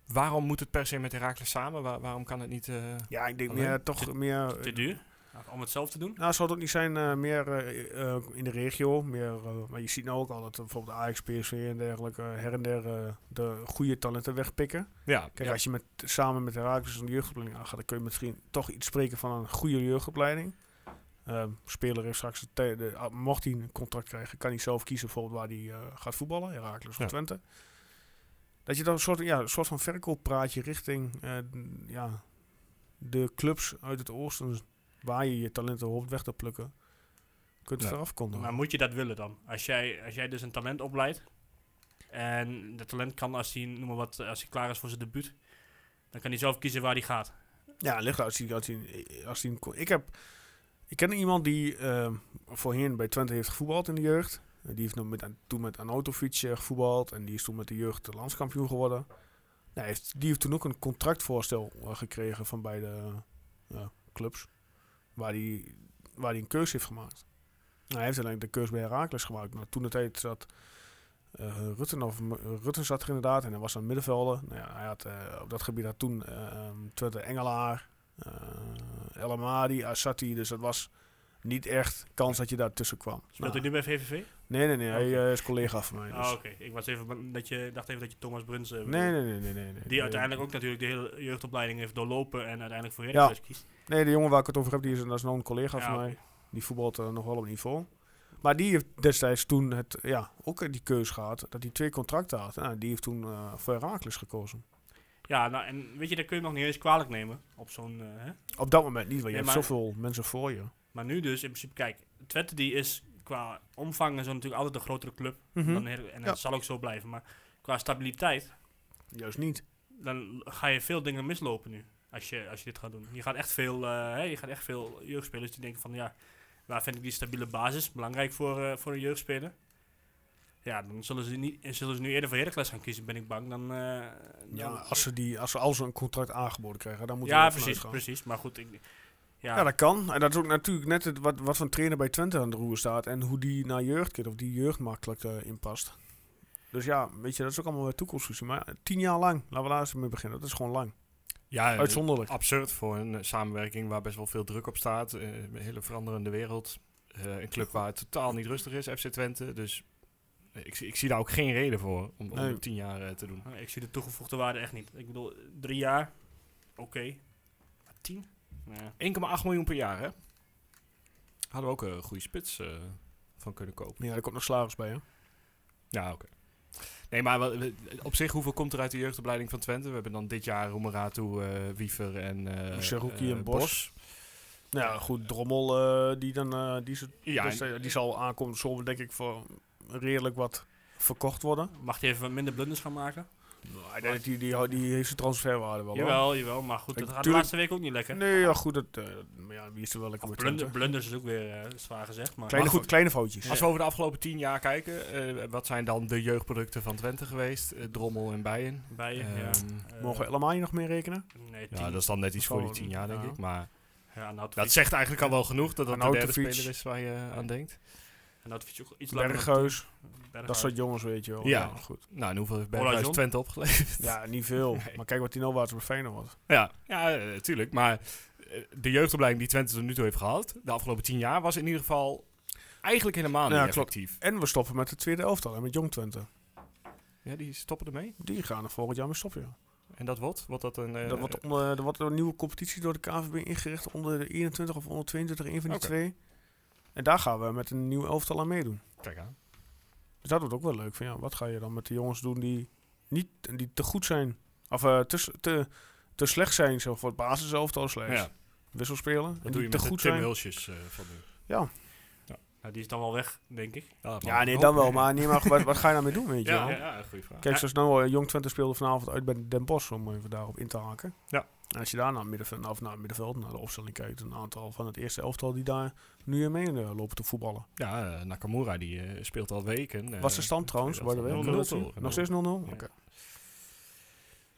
waarom moet het per se met Herakles samen? Waar- waarom kan het niet... eh, Ja, ik denk Alleen? meer, toch meer... Te eh, duur? Om hetzelfde te doen. Nou, zou het ook niet zijn eh, meer eh, eh, in de regio. Meer, eh, maar je ziet nou ook al dat eh, bijvoorbeeld Ajax, PSV en dergelijke eh, her en der eh, de goede talenten wegpikken. Ja, Kijk, ja. als je met, samen met Herakles een jeugdopleiding aangaat, dan kun je misschien toch iets spreken van een goede jeugdopleiding. Ehm, speler heeft straks, de, te- de- ah, mocht hij een contract krijgen, kan hij zelf kiezen bijvoorbeeld waar hij eh, gaat voetballen, Herakles of Ja. Twente. Dat je dan een soort, ja, een soort van verkooppraatje richting eh, n- ja, de clubs uit het oosten, waar je je talenten hoopt weg te plukken, kunt Ja. eraf komen. Maar moet je dat willen dan? Als jij, als jij dus een talent opleidt. En dat talent kan als hij, noem maar wat, als hij klaar is voor zijn debuut. Dan kan hij zelf kiezen waar hij gaat. Ja, ligt als hij, als hij, als hij een co- ik heb, ik ken iemand die ehm, voorheen bij Twente heeft gevoetbald in de jeugd. En Die heeft nog met, toen met Anautovic eh, gevoetbald en die is toen met de jeugd de landskampioen geworden. Ja, heeft, die heeft toen ook een contractvoorstel eh, gekregen van beide eh, clubs, waar hij waar die een keuze heeft gemaakt. Nou, hij heeft uiteindelijk de keuze bij Herakles gemaakt, maar toen de tijd zat eh Rutten, of, M- Rutten zat er inderdaad en hij was aan middenvelder. Nou ja, hij had, eh, op dat gebied had toen eh, ehm, Twente Engelaar, eh El Amadi, Asati. Dus dat was niet echt kans dat je daartussen kwam. Speelt Nou, hij nu bij VVV? nee, nee, nee. Hij Oké. eh, is collega van mij. Dus. Ah, oké. Ik was even bang dat je, dacht even dat je Thomas Bruns... eh, nee, bedoelde. nee, nee, nee, nee, nee. Die uiteindelijk ook natuurlijk de hele jeugdopleiding heeft doorlopen. En uiteindelijk voor Ja. Heracles kiest. Nee, de jongen waar ik het over heb, die is, dat is nog een collega Ja, van oké. mij. Die voetbalt eh, nog wel op niveau. Maar die heeft destijds toen het, ja, ook eh, die keus gehad dat hij twee contracten had. Nou, die heeft toen eh, voor Herakles gekozen. Ja, nou, en weet je, dat kun je nog niet eens kwalijk nemen. Op zo'n... eh, hè? Op dat moment niet, want Nee, je maar- hebt zoveel mensen voor je. Maar nu dus, in principe, kijk. Twente die is qua omvang en zo natuurlijk altijd een grotere club. Mhm. dan Her- en dat Ja. zal ook zo blijven. Maar qua stabiliteit... Juist niet. dan ga je veel dingen mislopen nu. Als je, als je dit gaat doen. Je gaat echt veel, eh, hè, je gaat echt veel jeugdspelers die denken van ja, waar vind ik die stabiele basis? Belangrijk voor, eh, voor een jeugdspeler. Ja, dan zullen ze, niet, en zullen ze nu eerder voor Heracles gaan kiezen, ben ik bang. Dan, eh, Ja, dan- Nou, als ze, die, als ze al zo'n contract aangeboden krijgen, dan moeten we ja er vanuit precies, gaan. precies. Maar goed, ik, ja, Ja. dat kan. En dat is ook natuurlijk net het, wat, wat van trainer bij Twente aan de roer staat. En hoe die naar jeugd kijkt, of die jeugd makkelijk eh, inpast. Dus ja, weet je, dat is ook allemaal weer toekomstvisie. Maar eh, tien jaar lang, laten we daar eens mee beginnen. Dat is gewoon lang. ja eh, Uitzonderlijk. absurd voor een eh, samenwerking waar best wel veel druk op staat. Eh, een hele veranderende wereld. Eh, een club waar het totaal niet rustig is, FC Twente. Dus eh, ik, zie- ik zie daar ook geen reden voor om, om Nee. het tien jaar eh, te doen. Ah, ik zie de toegevoegde waarde echt niet. Ik bedoel, drie jaar, oké. Maar tien? Nee. 1,8 miljoen per jaar, hè? Hadden we ook eh, een goede spits eh, van kunnen kopen. Ja, er komt nog slagers bij, hè? Ja, oké. Nee, maar wel- we- op zich, hoeveel komt er uit de jeugdopleiding van Twente? We hebben dan dit jaar Roemeratu, eh Wiever en... eh, Cherokee eh, en Bos. Nou ja, goed, Drommel, eh, die, dan, eh, die, ze- Ja, dus, eh, die zal aankomen. Zo denk ik voor redelijk wat verkocht worden. Mag hij even wat minder blunders gaan maken? Nou, ik denk dat die, die, die heeft zijn transferwaarde wel. hoor. Jawel, jawel. Maar goed, Ik- dat gaat de tuurlijk- laatste week ook niet lekker. Nee, ja, goed. Dat, eh, maar ja, wie is er wel lekker Of met blunder, Twente? blunders is ook weer eh, zwaar gezegd, maar... Kleine, Maar goed. fo- kleine foutjes. Als we over de afgelopen tien jaar kijken, eh, wat zijn dan de jeugdproducten van Twente geweest? Eh, Drommel en Bijen. Bij je, ja. Ehm, Eh, Mogen we allemaal hier nog mee rekenen? Nee, tien. ja, dat is dan net iets Dat voor die zal tien wel- jaar, denk ja. ik. Maar Ja, nou, dat zegt eigenlijk al wel genoeg dat dat de derde Arnautovic. speler is waar je aan denkt. En dat vind je nou, ook iets langer. dan Bergheus, tien. Berghuis. dat soort jongens, weet je wel. Ja. goed. Nou, en hoeveel heeft Olajon? Berghuis Twente opgeleverd? Ja, niet veel. Nee. Maar kijk wat die nou waard bij Feyenoord. Ja, ja eh, tuurlijk. Maar eh, de jeugdopleiding die Twente tot nu toe heeft gehad, de afgelopen tien jaar, was in ieder geval eigenlijk helemaal niet Ja, klopt. effectief. En we stoppen met de tweede elftal en met Jong Twente. Ja, die stoppen ermee. Die gaan er volgend jaar mee stoppen, ja. En dat wordt? Wordt dat een... eh, Dat wordt onder, er wordt een nieuwe competitie door de KNVB ingericht onder de 21 of onder 22, een van die Oké. twee. En daar gaan we met een nieuw elftal aan meedoen. Kijk aan. Dus dat wordt ook wel leuk. Van, ja, wat ga je dan met de jongens doen die, niet, die te goed zijn? Of eh, te, s- te, te slecht zijn, zo voor het basiselftal slechts. Ja, Wisselspelen. en dat doe die je te met de goed Tim zijn. Hulsjes eh, van nu. Nou, die is dan wel weg, denk ik. Ja, nee, dan wel. Maar, nee, maar wat, wat ga je nou mee doen, weet je Ja, wel? ja, ja, goede vraag. Kijk, zoals nou, eh, Jong Twente speelde vanavond uit bij Den Bosch, om even daarop in te haken. Ja. En als je daar naar het middenveld, of naar het middenveld, naar de opstelling kijkt, een aantal van het eerste elftal die daar nu in mee eh, lopen te voetballen. Ja, eh, Nakamura die eh, speelt al weken. eh, Was de stand trouwens, by the way? 0-0 Kunnen we dat toch? zien? Nog steeds 0-0? Oké.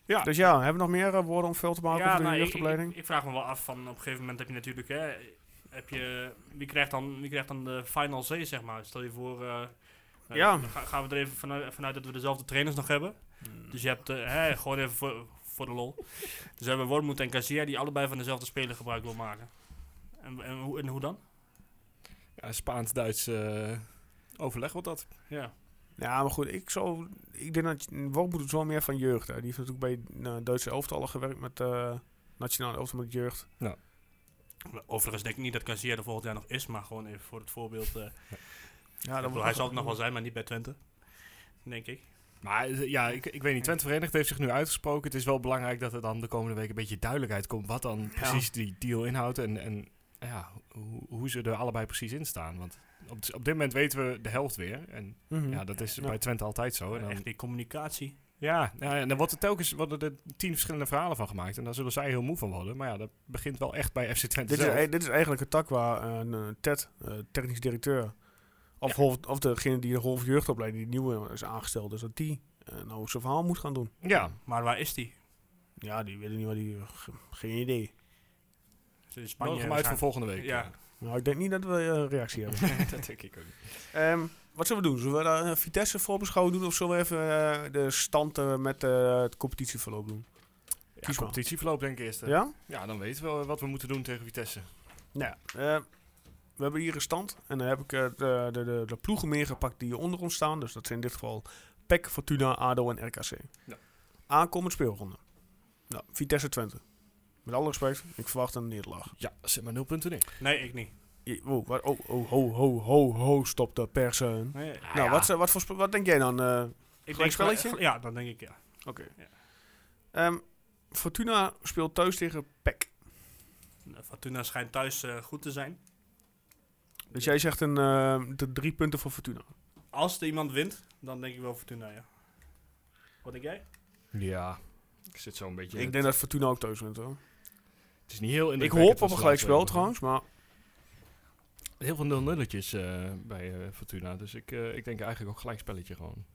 Ja. Dus ja, hebben we nog meer eh, woorden om veel te maken over de nou, ik, jeugdopleiding? ik- ik vraag me wel af van op een gegeven moment heb je natuurlijk hè, heb je, wie, krijgt dan, wie krijgt dan de final C, zeg maar? Stel je voor, eh, eh, Ja. dan ga- gaan we er even vanuit, vanuit dat we dezelfde trainers nog hebben. Dus je hebt eh, hè, gewoon even voor, voor de lol. Dus we hebben Wormoed en Garcia die allebei van dezelfde speler gebruik wil maken. En, en, hoe, en hoe dan? Ja, Spaans-Duits eh, overleg wordt dat. Ja. Ja, maar goed, ik, zou, ik denk dat Wok moet het wel meer van jeugd. Hè. Die heeft natuurlijk bij nou, Duitse elftallen gewerkt met eh nationale elftal met jeugd. Overigens denk ik niet dat Garcia er volgend jaar nog is, maar gewoon even voor het voorbeeld. eh, Ja, ik bedoel, hij zal het nog wel zijn, maar niet bij Twente. Denk ik. Maar eh, ja, ik, ik weet niet. Twente Verenigd heeft zich nu uitgesproken. Het is wel belangrijk dat er dan de komende week een beetje duidelijkheid komt. Wat dan precies die deal inhoudt. En, en ja, hoe, hoe ze er allebei precies in staan. Want op, op dit moment weten we de helft weer. En Mhm. ja, dat is Hm. Ja. bij Twente altijd zo. En Oh, dan, Echt die communicatie. ja, nou ja, en dan wordt er telkens worden er tien verschillende verhalen van gemaakt. En daar zullen zij heel moe van worden. Maar ja, dat begint wel echt bij FC Twente Dit is, zelf. eh, dit is eigenlijk een tak waar een eh, Ted, eh, technisch directeur, of, hoofd- of degene die de half jeugdopleiding, die nieuwe is aangesteld, dus dat die eh, nou zijn verhaal moet gaan doen. Ja, Maar waar is die? Ja, die weet ik niet waar die, eh, ge- geen idee. Is het in Spanje? nodig hem uit voor waarschijnlijk? volgende week. Ja. Nou, ik denk niet dat we eh, reactie hebben. dat denk ik ook niet. Ehm, wat zullen we doen? Zullen we daar een Vitesse voorbeschouwing doen of zullen we even eh, de stand eh, met eh, het competitieverloop doen? Ja, competitieverloop denk ik eerst. hè. Ja? ja, dan weten we wat we moeten doen tegen Vitesse. Nou, ja, eh, we hebben hier een stand. En dan heb ik eh, de, de, de, de ploegen meegepakt die hier onder ons staan. Dus dat zijn in dit geval PEC, Fortuna, ADO en RKC. Ja. Aankomend speelronde. Nou, Vitesse Twente. Met alle respect, ik verwacht een nederlaag. Ja, zet maar nul punten in. Nee, ik niet. Je- Oh, wat- oh, oh, ho, ho, ho, ho, stop de persen. Nee, nou, Ah, ja. wat, eh, wat, voor, spe- wat denk jij dan? eh? ik Gelijkspelletje? gel- Ja, dan denk ik ja. Oké. Ja. Ehm, Fortuna speelt thuis tegen PEC. Fortuna schijnt thuis eh, goed te zijn. Dus jij zegt een, eh, de drie punten voor Fortuna. Als er iemand wint, dan denk ik wel Fortuna, ja. Wat denk jij? Ja, ik zit zo een beetje... Ik denk dat Fortuna ook thuis wint hoor. het is niet heel Ik hoop indrukwekkend wat op ze een gelijkspel laten zien. trouwens, maar Heel veel nul-nulletjes eh, bij eh, Fortuna. Dus ik, eh, ik denk eigenlijk ook gelijkspelletje gewoon.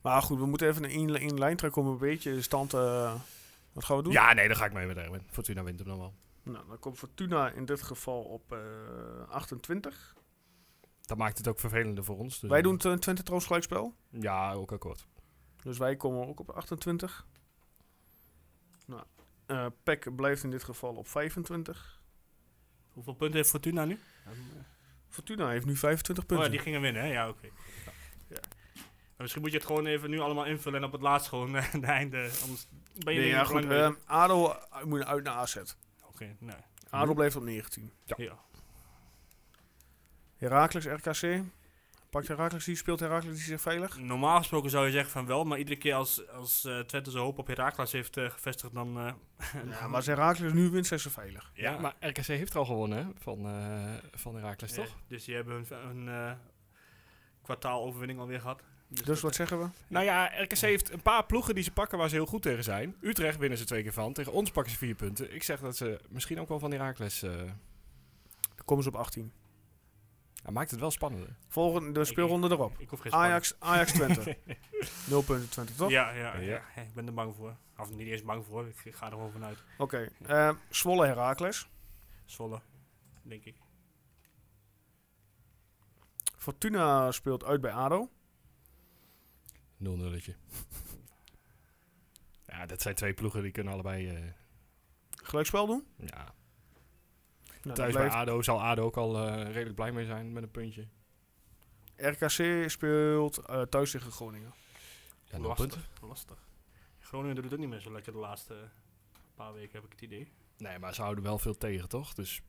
Maar goed, we moeten even een in, in lijn trekken om een beetje de stand. eh, wat gaan we doen? Ja, nee, daar ga ik mee met Erwin. Fortuna wint hem dan wel. Nou, dan komt Fortuna in dit geval op eh, 28. Dat maakt het ook vervelender voor ons. dus Wij dan- doen tw- Twente trouwens gelijkspel. Ja, ook akkoord. Dus wij komen ook op 28. Nou, eh Peck blijft in dit geval op 25. Hoeveel punten heeft Fortuna nu? Fortuna heeft nu 25 Oh ja, punten. die gingen winnen, hè? Ja, oké. Ja. Maar Misschien moet je het gewoon even nu allemaal invullen en op het laatst gewoon eh, de einde. Anders ben Nee, je er ja, niet goed. lang mee. eh, ADO uit- moet uit naar AZ. Oké, nou. Hm. ADO blijft op 19. Ja. Heracles, RKC. Pakt Heracles, die speelt Heracles, die zich veilig. Normaal gesproken zou je zeggen van wel, maar iedere keer als, als eh, Twente zijn hoop op Herakles heeft eh, gevestigd, dan... eh, Ja, maar als Heracles nu wint, zijn ze veilig. Ja, maar RKC heeft er al gewonnen hè, van, eh van Herakles, Ja, toch? dus die hebben hun, hun eh, kwartaaloverwinning alweer gehad. Dus dat- wat zeggen we? Nou ja, RKC heeft een paar ploegen die ze pakken waar ze heel goed tegen zijn. Utrecht winnen ze twee keer van. Tegen ons pakken ze vier punten. Ik zeg dat ze misschien ook wel van Herakles... eh Dan komen ze op 18. ja, maakt het wel spannender. Volgende de speelronde erop. Ik hoef geen Ajax, Ajax Twente. 0 punten Twente, toch? Ja, ja, Ja. ja. ik ben er bang voor. Of niet eens bang voor, ik ga er gewoon vanuit. Oké. eh, Zwolle Heracles. Zwolle, denk ik. Fortuna speelt uit bij ADO. Nul nulletje. ja, dat zijn twee ploegen die kunnen allebei... eh, Gelijkspel doen. ja. Nou, Thuis dat bij ADO zal ADO ook al eh, redelijk blij mee zijn met een puntje. blijft. RKC speelt eh, thuis tegen Groningen. Ja, nul lastig, punten. lastig. Groningen doet het niet meer zo lekker de laatste paar weken, heb ik het idee. Nee, maar ze houden wel veel tegen, toch? Dus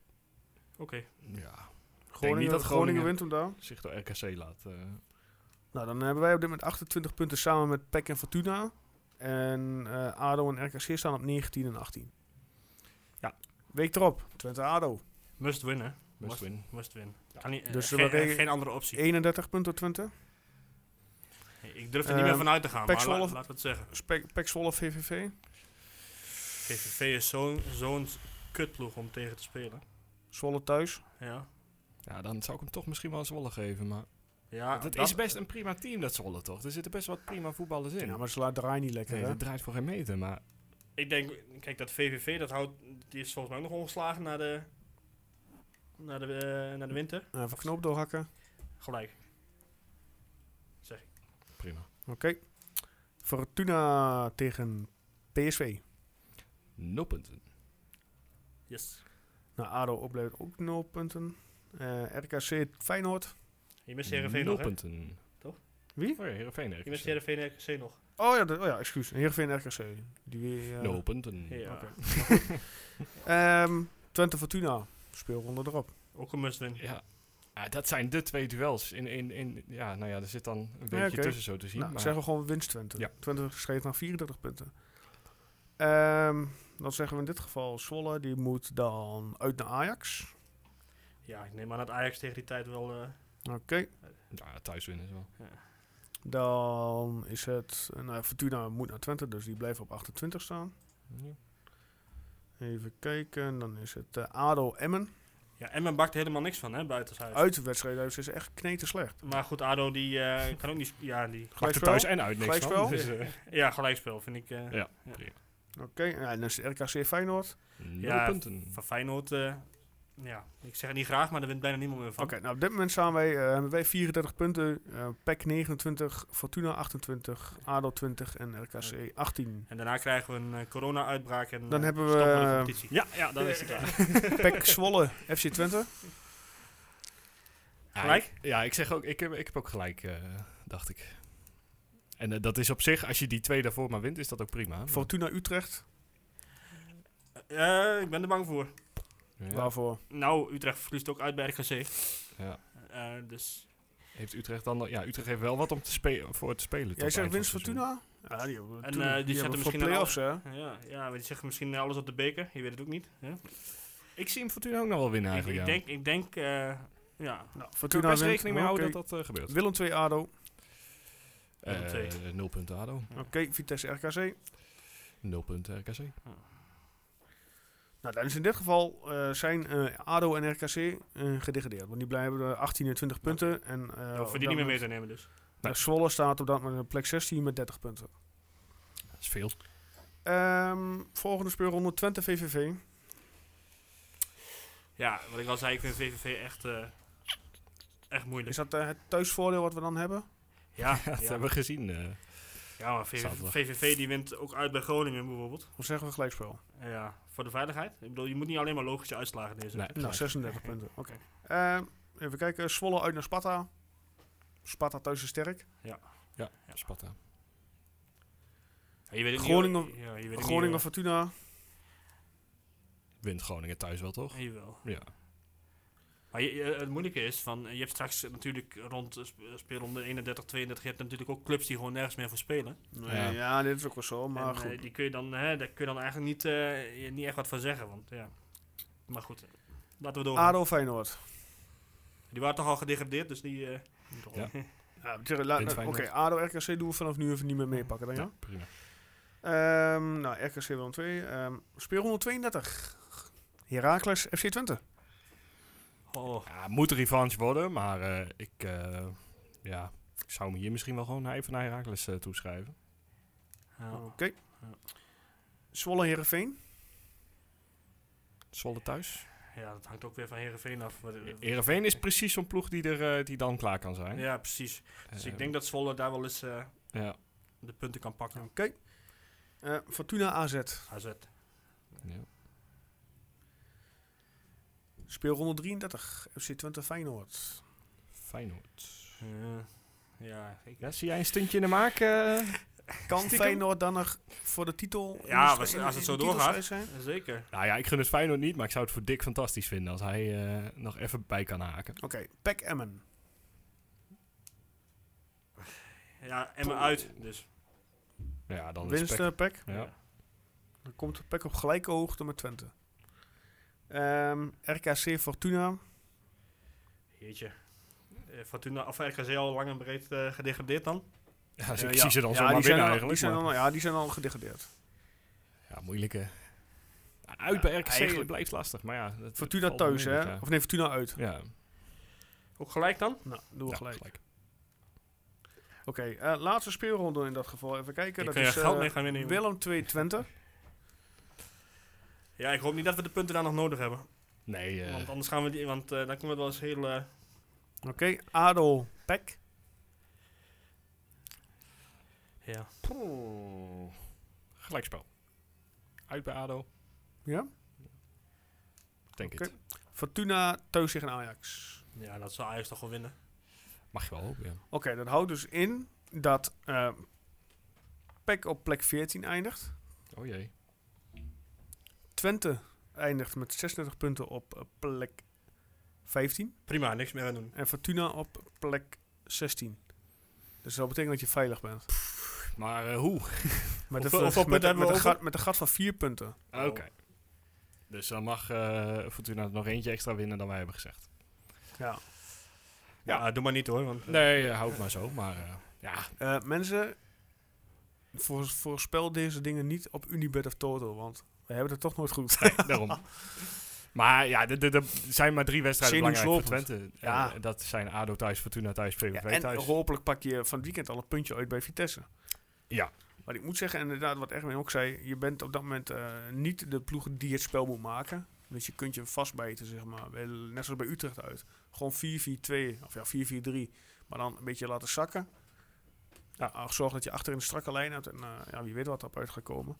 Oké. ja, Groningen, niet Groningen, dat Groningen- wint hem daar. zich door RKC laat. eh, Nou, dan hebben wij op dit moment 28 punten samen met PEC en Fortuna. En eh, ADO en RKC staan op 19 en 18. Ja. Week erop. Twente ADO. Must win, hè? must win. Must win. Kan niet, eh, Dus we geen, eh, rekenen- geen andere optie. 31 punten Twente. Ik durf er niet meer Ehm, vanuit te gaan, Pek maar la- Zwolle- laten we het zeggen. Spek- PEC E Zwolle VVV. VVV is zo'n zo'n kutploeg om tegen te spelen. Zwolle thuis. Ja. Ja, dan zou ik hem toch misschien wel een Zwolle geven. Maar Ja, Ah, dat, is best een prima team, dat Zwolle, toch? Er zitten best wat prima voetballers in. Ja, maar ze laat draaien niet lekker, nee, hè? dat draait voor geen meter, maar... Ik denk, kijk, dat VVV, dat houdt, die is volgens mij ook nog ongeslagen na de, na de, eh, na de winter. Eh, Even knoop doorhakken. Gelijk. Prima. Oké. Fortuna tegen PSV. Nul punten. Yes. Nou, ADO oplevert ook 0 punten. Eh, RKC Feyenoord. Je mist Heerenveen nog, hè? punten. Toch? Wie? Oh ja, Heerenveen. Je RKC. mist Heerenveen en RKC nog. Oh ja, dat- oh ja excuus. Heerenveen RKC. Die weer, eh, Nul punten. Ja. oké. Ehm, Twente Fortuna. Speelronde erop. Ook een must-win. Ja. Ah, dat zijn de twee duels. In, in, in, ja, nou ja, er zit dan een beetje oké. tussen zo te zien. Nou, maar zeggen we gewoon winst Twente. Ja. Twente schreef naar 34 punten. Ehm, dan zeggen we in dit geval Zwolle. Die moet dan uit naar Ajax. Ja, ik neem aan dat Ajax tegen die tijd wel... eh, Oké. ja, thuis winnen is wel. Dan is het... eh, Nou, ja, Fortuna moet naar Twente, dus die blijft op 28 staan. Ja. Even kijken. Dan is het eh, ADO Emmen. Ja, Emmen bakt er helemaal niks van, hè, buitenshuis. Uit de wedstrijd uit is echt kneten slecht. Maar goed, ADO die eh, kan ook niet... sp- Ja, die... Maakt er thuis en uit niks Gelijkspel? van. Dus, eh, ja gelijkspel vind ik... eh, ja. Oké, ja, en dan is het RKC Feyenoord. Nul Ja, punten. Van Feyenoord... eh, ja, ik zeg het niet graag, maar daar wint bijna niemand meer Oké, van. nou op dit moment staan wij, eh, hebben wij 34 punten. eh PEC 29, Fortuna 28, ADO 20 en RKC 18. En daarna krijgen we een eh, corona-uitbraak en Dan eh, hebben we, stoppen de eh, competitie. Ja, ja, dan is het klaar. PEC Zwolle, FC Twente. Ja, Gelijk? ik- Ja, ik zeg ook, ik heb, ik heb ook gelijk, eh, dacht ik. En eh, dat is op zich, als je die twee daarvoor maar wint, is dat ook prima. Maar- Fortuna Utrecht, Eh, ik ben er bang voor. ja. waarvoor? Nou, Utrecht verliest ook uit bij RKC. Ja. Eh, dus Heeft Utrecht dan... Ja, Utrecht heeft wel wat om te spelen voor het spelen. tot Jij zegt eind van winst het seizoen. Fortuna? Ja, die hebben we En, toen- eh, die zetten hebben we voor misschien een play-offs, hè? eh, ja, ja, maar die zeggen misschien alles op de beker. Je weet het ook niet. Hè? Ik zie hem Fortuna ook nog wel winnen Ik, ik eigenlijk, ja. denk, ik denk eh, ja. Nou, Kun je Fortuna best wint, rekening mee houden oké. dat dat eh, gebeurt. Willem 2 ADO, oké, Eh, Willem nul punten ADO. Vitesse RKC. Nul punten eh, RKC. Nou, dan is in dit geval eh, zijn eh, ADO en RKC eh, gedegradeerd. Want die blijven eh, 18 en 20 punten. En, eh, Nou, op voor die dat niet meer mee moment- te nemen dus. Nou, Zwolle staat op dat moment op plek 16 met 30 punten. Dat is veel. Ehm, volgende speelronde Twente VVV. Ja, wat ik al zei, ik vind VVV echt, eh, echt moeilijk. Is dat eh, het thuisvoordeel wat we dan hebben? Ja, Dat ja. hebben we gezien. eh. ja maar VVV, Zaterdag. VVV die wint ook uit bij Groningen bijvoorbeeld. Eh, Of zeggen we gelijkspel? Ja, voor de veiligheid. Ik bedoel, je moet niet alleen maar logische uitslagen deze. nee, Nou, gelijk. 36 punten. Oké. Ehm, even kijken. Zwolle uit naar Sparta. Sparta thuis is sterk. Ja, Sparta. Ja, je weet het Groningen- niet, hoor. ja, je weet het Groningen niet, Fortuna. Wint Groningen thuis wel, toch? hoor. Jawel. Ja. Maar je- je- het moeilijke is, van, eh, je hebt straks natuurlijk rond eh, sp- eh, speelronde 31, 32, je hebt natuurlijk ook clubs die gewoon nergens meer voor spelen. Nee, ja. Ja. dit is ook wel zo. Maar en, eh, goed. die kun je dan, hè, daar kun je dan eigenlijk niet, eh, je- niet echt wat van zeggen. Want, ja. Maar goed, eh, laten we door. ADO Feyenoord. Die waren toch al gedegradeerd, dus die... eh, Ja. Ja, tja, la- Wint Oké, Feyenoord. ADO RKC doen we vanaf nu even niet meer meepakken dan ja. Ja, prima. Ehm, nou, RKC Willem 2. Ehm speelronde 32. Heracles FC Twente. oh, Ja, moet een revanche worden, maar eh, ik, eh, ja, ik zou hem hier misschien wel gewoon even naar Herakles toeschrijven. ja. Oké. Ja. Zwolle Herenveen. Zwolle thuis. Ja, dat hangt ook weer van Herenveen af. Wat- eh, Ereveen is precies zo'n ploeg die, er, eh, die dan klaar kan zijn. Ja, precies. Dus ik Eh, denk dat Zwolle daar wel eens eh, Ja, de punten kan pakken. Eh, Fortuna AZ. AZ. ja. Speelronde 33. FC Twente Feyenoord. Feyenoord. Ja, ja, ik- Ja, zie jij een stintje in de maak? eh? Kan Feyenoord dan nog voor de titel... in Ja, de st- als- in de- als het in de zo doorgaat. titelstrijd zijn? zeker. Nou ja, ik gun het Feyenoord niet, maar ik zou het voor Dick fantastisch vinden als hij eh, nog even bij kan haken. Oké, Pac Emmen. Ja, Emmen uit. Dus. Ja, dan is Winst Peck- eh, Pac. Ja. Dan komt Pac op gelijke hoogte met Twente. Ehm, RKC Fortuna. Jeetje. Eh, Fortuna, of RKC al lang en breed eh, gedegradeerd dan. Ja, dus ik Eh, ja. zie ze dan Ja, zomaar die zijn winnen al- die eigenlijk. zijn maar- al- Ja, die zijn al gedegradeerd. Ja, moeilijke. Uit bij RKC eigenlijk- blijft lastig, maar ja. dat- Fortuna het valt wel thuis, mee, hè? ja. Of nee, Fortuna uit. Ja, Ook gelijk dan? Nou, doen we ja, gelijk. gelijk. Oké, eh, laatste speelronde in dat geval. Even kijken. Daar Dat kun je is geld eh, mee gaan winnen. jongen. Willem 2 Twente. Ja, ik hoop niet dat we de punten daar nog nodig hebben. Nee, eh, Want anders gaan we die, want eh, dan komt het wel eens heel. eh, Oké, Adel Pek. ja. poeh, gelijkspel. Uit bij ADO. Ja? Tegen denk Oké. het. Fortuna thuis tegen Ajax. Ja, dat zal Ajax toch wel winnen. Mag je wel hopen, ja. Oké, dat houdt dus in dat eh PEC op plek 14 eindigt. Oh jee. Twente eindigt met 36 punten op eh, plek 15. Prima, niks meer aan doen. En Fortuna op plek 16. Dus dat betekent dat je veilig bent. Maar eh, hoe? Met, Hoeveel- een- hoeveel met, punten hebben met, we een over? gat, met een gat van 4 punten. Oké. Dus dan mag eh Fortuna nog eentje extra winnen dan wij hebben gezegd. Ja. Ja, doe maar niet hoor. Want, Nee, eh, hou het maar zo. Maar eh, ja, Eh, mensen, voor, voorspel deze dingen niet op Unibet of Toto, want we hebben het toch nooit goed. nee, daarom. Maar ja, er- er er zijn maar drie wedstrijden belangrijk voor Zenuwslopend. Twente. Ja. Ja. dat zijn ADO thuis, Fortuna thuis, Ja, VVV en thuis. hopelijk pak je van het weekend al een puntje uit bij Vitesse. Ja. Maar ik moet zeggen, inderdaad, wat Erwin ook zei, je bent op dat moment eh, niet de ploeg die het spel moet maken. Dus je kunt je vastbijten, zeg maar. Wel, Net zoals bij Utrecht uit. Gewoon 4-4-2, of ja, 4-4-3. Maar dan een beetje laten zakken. Ja, zorg dat je achterin een strakke lijn hebt. En eh, ja, wie weet wat erop uit gaat komen.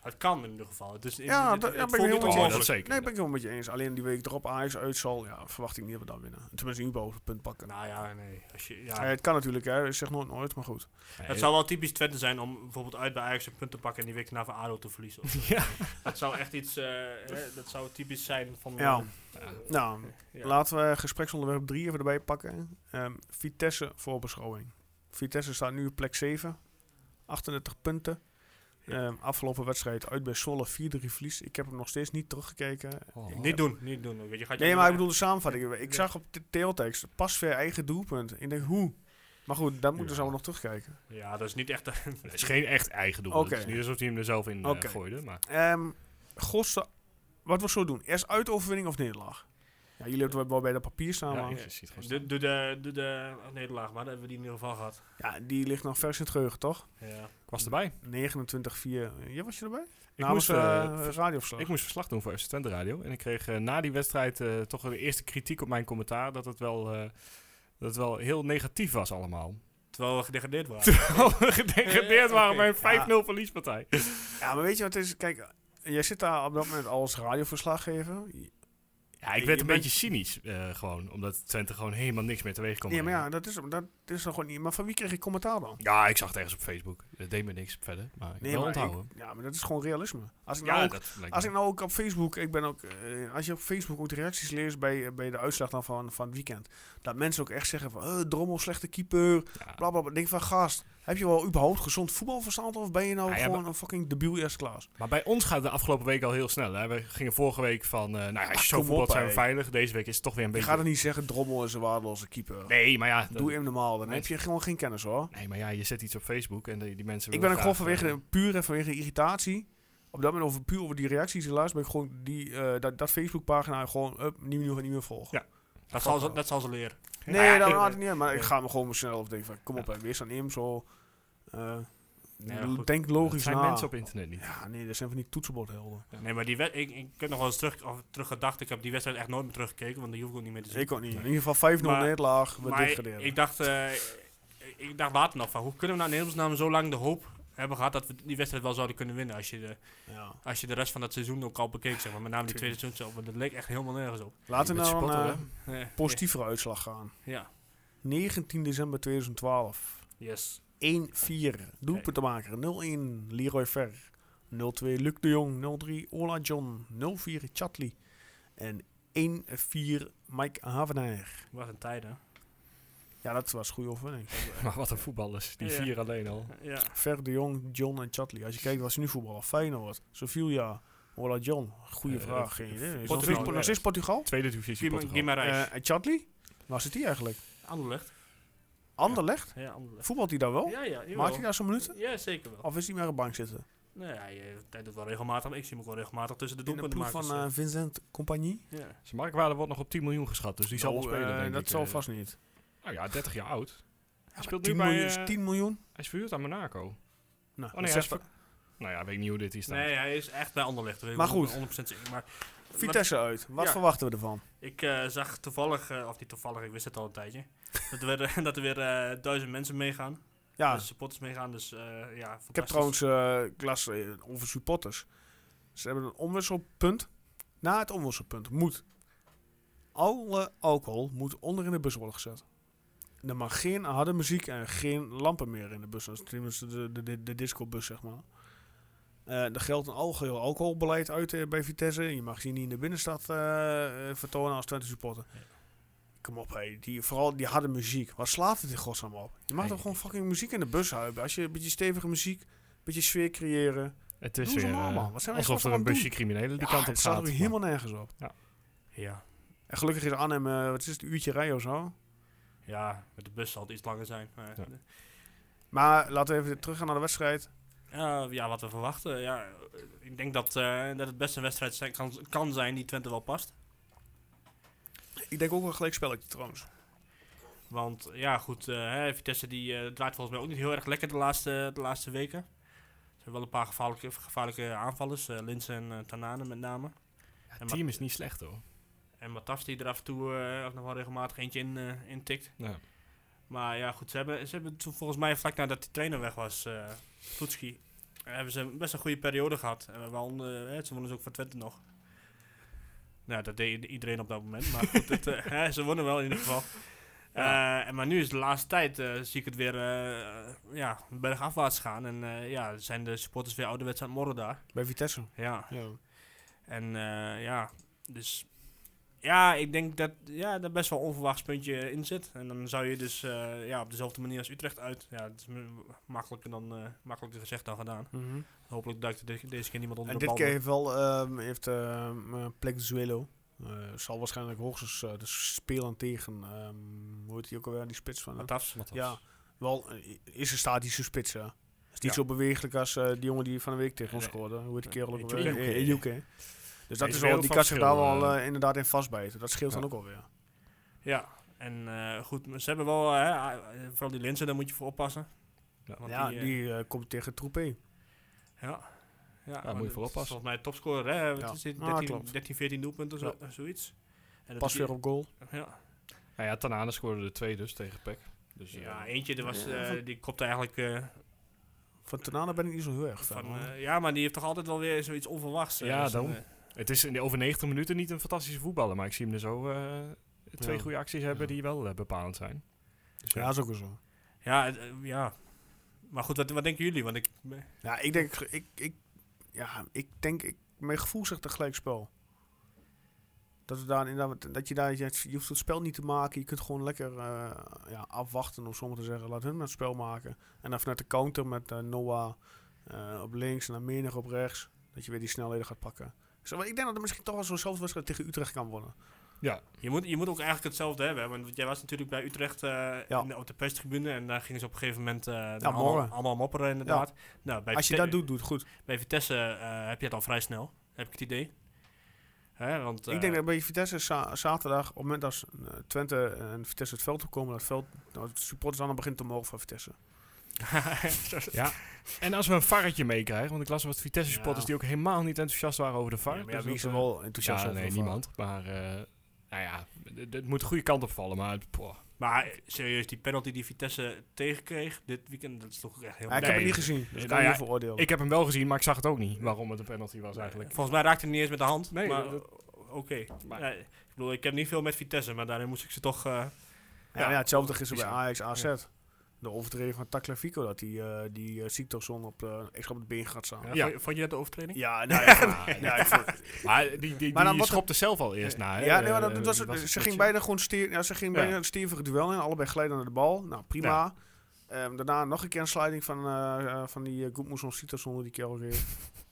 het kan in ieder geval. Het is, Ja, het, dat- ja, het ben ik heel voelt niet met je Oh, eens. dat onmogelijk. zeker. Nee, ben ik helemaal met je eens. Alleen die week erop Ajax uit zal, ja, verwacht ik niet dat we dan winnen. Tenminste, in ieder geval een punt pakken. Nou ja, nee. Als je, ja. Eh, het kan natuurlijk, hè. Ik zeg nooit nooit, maar goed. het zou wel typisch Twente zijn om bijvoorbeeld uit bij Ajax een punt te pakken en die week daarna van ADO te verliezen. of zo. Ja. Dat zou echt iets, eh, hè, dat zou typisch zijn van... Ja. eh, Nou, Ja. laten we gespreksonderwerp 3 even erbij pakken. Ehm, Vitesse voorbeschouwing. Vitesse staat nu op plek 7. 38 punten. Ehm, afgelopen wedstrijd uit bij Zwolle 4-3 verlies. Ik heb hem nog steeds niet teruggekeken. Niet doen, niet doen. Weet je, gaat je Nee, maar ik niet- bedoel de samenvatting. Ik zag op de teletext pas weer eigen doelpunt. Ik denk, hoe? Maar goed, daar moeten ze Ja. allemaal nog terugkijken. Ja, dat is niet echt... Het is geen echt eigen doel. Oké. Het is niet alsof hij hem er zelf in eh, Oké. gooide. Maar Ehm Gosse, wat we zo doen? Eerst uitoverwinning of nederlaag? Ja, jullie hebben het wel bij dat papier staan. ja, Nou, maar- ik zie het gewoon Doe, doe de, doe de nederlaag, maar dat hebben we die in ieder geval gehad. ja, die ligt nog vers in het geheugen, toch? Ja. staan. Ik was erbij. 29-4. Jij was je erbij? Ik Namens moest, eh, eh, ver- radioverslag. ik moest verslag doen voor FC Twente Radio. En ik kreeg eh, na die wedstrijd eh, toch de eerste kritiek op mijn commentaar. Dat het wel, eh, dat het wel heel negatief was allemaal. Terwijl we gedegradeerd waren. Terwijl we Oh, gedegradeerd waren bij Eh, Ja. een 5-0 verliespartij. Ja, maar weet je wat het is? Kijk, jij zit daar op dat moment als radioverslaggever. Oh, Ja, ik Je werd een bent- beetje cynisch eh, gewoon. Omdat Twente gewoon helemaal niks meer teweeg kon Ja, maar brengen. ja, dat is, dat is dan gewoon niet. Maar van wie kreeg ik commentaar dan? Ja, ik zag het ergens op Facebook. Het deed me niks verder. Maar ik wil maar onthouden. ik- ja, maar dat is gewoon realisme. Als ik nou ja, ook, dat lijkt als me. ik nou ook op Facebook, ik ben ook, eh, als je op Facebook ook de reacties leest bij, eh, bij de uitslag dan van, van het weekend, dat mensen ook echt zeggen van, eh drommel, slechte keeper, Ja. bla bla bla. Ik Denk van gast, heb je wel überhaupt gezond voetbalverstand of ben je nou Ah, Ja, ja, gewoon een fucking debiel eerste klas? Maar bij ons gaat de afgelopen week al heel snel. Hè? We gingen vorige week van, eh, nou ja, als je zo Ah, kom voetbalt op, zijn we hé. veilig. Deze week is het toch weer een Je beetje... gaat er niet zeggen, drommel is een waardeloze keeper. Nee, maar ja... dat- Doe hem normaal, dan heb Mensen- je gewoon geen kennis hoor. Nee, maar ja, je zet iets op Facebook en die, die mensen... Ik ben willen ook gewoon graag, eh, vanwege de, puur en vanwege de irritatie. Op dat moment over puur over die reacties helaas ben ik gewoon die, eh, dat, dat Facebookpagina gewoon up, niet meer, niet meer volgen. Ja. Dat zal, ze, dat zal ze leren. Nee, Nou ja, dat ik- had ik niet. Maar ik nee. ga me gewoon snel op denken van, kom op, hè, wees aan hem zo. eh, Ja, goed. denk eh, logisch het zijn na. mensen op internet niet. Ja, nee, dat zijn van die toetsenbordhelden. Nee, maar die wed- ik, ik heb nog wel eens terug, of teruggedacht. Ik heb die wedstrijd echt nooit meer teruggekeken, want die hoef ik ook niet meer Dus te zien. Ik ook niet. In ieder geval 5-0 Maar- nederlaag, we maar ik, degraderen. ik dacht, eh, ik- ik dacht later nog van, hoe kunnen we nou in hemelsnaam zo lang de hoop hebben gehad dat we die wedstrijd wel zouden kunnen winnen als je de, Ja. als je de rest van dat seizoen ook al bekeek, zeg maar. Met name die tweede seizoen zelf, want dat leek echt helemaal nergens op. Laten we Je bent nou spotter, een hè? eh, Eh, positievere uitslag gaan. Ja, 19 december 2012. yes. 1-4. Doelpunt te maken. 0-1 Leroy Ver. 0-2 Luc de Jong. 0-3 Ola John. 0-4 Chatley. En 1-4 Mike Havenaar. Wat een tijd, hè? Ja, dat was een goede overwinning. Maar wat een voetballers. Die Ja. vier alleen al. Ja. Ver de Jong, John en Chatley. Als je kijkt wat ze nu voetballen. Feyenoord, Sevilla, Ola John. Goede Eh, vraag. Geen idee. Is nog Portugal, steeds- ja. Nog steeds Portugal? Tweede divisie Guima- Portugal. Guimarães. Eh, en Chatley? Waar zit hij eigenlijk? Anderlecht. Anderlecht? Ja, Anderlecht. Voetbalt hij daar wel? Ja, ja. Maakt jawel. hij daar zijn minuten? Ja, zeker wel. Of is hij maar op de bank zitten? Nee, hij, eh, hij doet wel regelmatig. Ik zie hem ook wel regelmatig tussen de In de doelpunten dus, eh, ploeg van eh, Vincent Compagnie? ja. Zijn marktwaarde wordt nog op 10 miljoen geschat, dus die zal wel Nou, spelen. eh, denk dat ik. zal Eh, vast niet. Nou ja, 30 jaar oud. Hij speelt nu 10 bij... miljoen, eh, is 10 miljoen? Hij is verhuurd aan Monaco. Nou, Oh dat nee, hij is zegt- ver- Nou ja, weet ik niet hoe dit is. Nee, hij is echt bij Anderlecht. dat weet ik Maar goed. 100% zeker. Maar Vitesse uit. Wat Ja. verwachten we ervan? Ik eh, zag toevallig, eh, of niet toevallig, ik wist het al een tijdje, dat er weer, dat er weer eh, duizend mensen meegaan. Ja, Dus supporters meegaan, dus eh, ja, ik heb trouwens eh, glas eh, over supporters. Ze hebben een omwisselpunt. Na het omwisselpunt moet alle alcohol moet onder in de bus worden gezet. Er mag geen harde muziek en geen lampen meer in de bus. Dat is tenminste de, de, de, de discobus, zeg maar. Eh er geldt een algeheel alcoholbeleid uit eh, bij Vitesse. Je mag je niet in de binnenstad eh, eh, vertonen als Twente supporter. Kom op, hé. Die, vooral die harde muziek. Waar slaat het in godsnaam op? Je mag Nee, toch gewoon fucking muziek in de bus houden? Als je een beetje stevige muziek, een beetje sfeer creëren. Het is Doe ze weer, normaal, eh, man. Wat zijn wij alsof in er godsnaam een aan busje het criminelen die Ja, kant op het staat gaat. er helemaal nergens op. Ja. En gelukkig is Arnhem, eh, wat is het, een uurtje rij of zo. ja, met de bus zal het iets langer zijn. maar- Ja. Maar laten we even teruggaan naar de wedstrijd. Ja, ja, wat we verwachten. Ja, ik denk dat, eh, dat het best een wedstrijd zijn, kan, kan zijn die Twente wel past. Ik denk ook wel een gelijk spelletje trouwens. Want ja, goed, eh, hè, Vitesse die, eh, draait volgens mij ook niet heel erg lekker de laatste, de laatste weken. Ze hebben wel een paar gevaarlijke, gevaarlijke aanvallers. eh Linsen en eh, Tanane met name. Het team is niet slecht hoor. En Matas die er af en toe eh, ook nog wel regelmatig eentje in, eh, in tikt. Ja. Maar ja, goed, ze hebben, ze hebben toen volgens mij vlak nadat die trainer weg was, eh Toetski, eh, hebben ze best een goede periode gehad. En waaronder, eh, ze wonnen ze ook voor Twente nog. Nou, dat deed iedereen op dat moment. Maar goed, het, eh, hè, ze wonnen wel in ieder geval. Eh, en maar nu is de laatste tijd, eh, zie ik het weer eh ja, bergafwaarts gaan. En eh, ja, zijn de supporters weer ouderwets aan het morren daar. Bij Vitesse. Ja, Ja. en eh, ja, dus ja, ik denk dat ja, daar best wel een onverwachts puntje in zit. En dan zou je dus eh, ja, op dezelfde manier als Utrecht uit. Ja, het is m- makkelijker, dan, eh, makkelijker gezegd dan gedaan. Hopelijk duikt er de- deze keer niemand onder En de dit keer bal. door. heeft wel ehm heeft, ehm, eh, Plexuelo. Eh, zal waarschijnlijk hoogstens eh, de spelen tegen. ehm hoe heet die ook alweer? Die spits van. hem? Matafs. Ja, wel eh, is een statische spits. hè. Is niet Ja. zo beweeglijk als eh, die jongen die van de week tegen ons Nee. scoorde. Hoe heet die kerel ook Ejuke. alweer? Ejuke. Eh, Ejuke. Dus dat Deze is wereld wel, die van kan zich daar verschil, wel eh. eh, inderdaad in vastbijten. Dat scheelt Ja. dan ook alweer. Ja, en eh, goed, maar ze hebben wel, eh, eh, vooral die linzen, daar moet je voor oppassen. Ja. Want ja, die, eh, eh, komt tegen Troepé. ja. Ja, moet je maar voor dat is oppassen. Volgens mij topscorer, hè? Wat Ja. is dit? Ah, 13, klopt. 13, 14 doelpunten, zo, zoiets. En dat Pas doet weer hij- op goal. Ja, Nou ja, Tanane scoorde er twee dus tegen Peck. Dus, eh, Ja, eentje er was, eh, die kopte eigenlijk eh, Van Tenana ben ik niet zo heel erg fan. van... hoor. eh, ja, maar die heeft toch altijd wel weer zoiets onverwachts. eh, Ja, dus dan, daarom. eh, het is in de over 90 minuten niet een fantastische voetballer, maar ik zie hem er zo eh, twee Ja. goede acties hebben die wel eh, bepalend zijn. Dus, ja, ja. dat is ook wel zo. ja, het, eh, ja. Maar goed, wat, wat denken jullie? Want ik... Ja, ik denk, ik, ik, ja, ik denk, ik, mijn gevoel zegt een gelijkspel. Dat, we daar inderdaad- dat je daar, je, je hoeft het spel niet te maken. Je kunt gewoon lekker eh, ja, afwachten, om sommigen te zeggen. Laat hun maar het spel maken. En dan vanuit de counter met eh, Noah eh, op links en dan Menig op rechts. Dat je weer die snelheden gaat pakken. Zo, maar ik denk dat het misschien toch wel zo'n zelfs wedstrijd tegen Utrecht kan worden. Je moet, je moet ook eigenlijk hetzelfde hebben. hè, Want jij was natuurlijk bij Utrecht eh, in de- op de perstribune. En daar gingen ze op een gegeven moment eh, allemaal, morren. allemaal mopperen inderdaad. Nou, bij Als je Vite- dat doet, doet het goed. Bij Vitesse eh, heb je het al vrij snel. Heb ik het idee. Hè, want, eh, Ik denk dat bij Vitesse za- zaterdag, op het moment dat eh, Twente en Vitesse het veld opkomen, dat het veld, nou, de supporters dan begint te mogen van Vitesse. En als we een varretje meekrijgen, want ik las wat Vitesse supporters Ja. die ook helemaal niet enthousiast waren over de VAR. Ja, maar Dus ja, wie dat, is er eh, wel enthousiast ja, over? nee, van? niemand. Maar eh, nou ja, het- het moet de goede kant opvallen, maar het- poh. Maar eh, serieus, die penalty die Vitesse tegenkreeg dit weekend, dat is toch echt heel... Ja, ik heb Nee. het niet gezien, dus ik Nou kan ja, niet veroordelen. ik heb hem wel gezien, maar ik zag het ook niet waarom het een penalty was eigenlijk. Eh, Volgens mij raakte hij niet eens met de hand. Nee, maar dat- dat- oké. Ja, ik bedoel, ik heb niet veel met Vitesse, maar daarin moest ik ze toch... eh, ja, maar ja, hetzelfde gisteren bij Misschien. Ajax AZ. De overtreding van Taclefico, dat die, eh die eh, Siktorsson op, eh extra op het been gaat staan. ja, Ja, Ja. Vond, je, vond je dat de overtreding? nou ja, ja, Maar, ja, ik vond- maar die, die, die, Maar dan wat- schopte zelf al eerst na. hè? ja, nee, maar Eh, dat, dat was, die was ze een ging beetje- beide gewoon steer, ja, ze ging Ja. bijna een stevige duel in. Allebei glijden naar de bal. Nou, prima. Ja. Ehm, daarna nog een keer een sliding van, eh, eh, van die uh, Goedmoesson Siktorsson die kerel weer.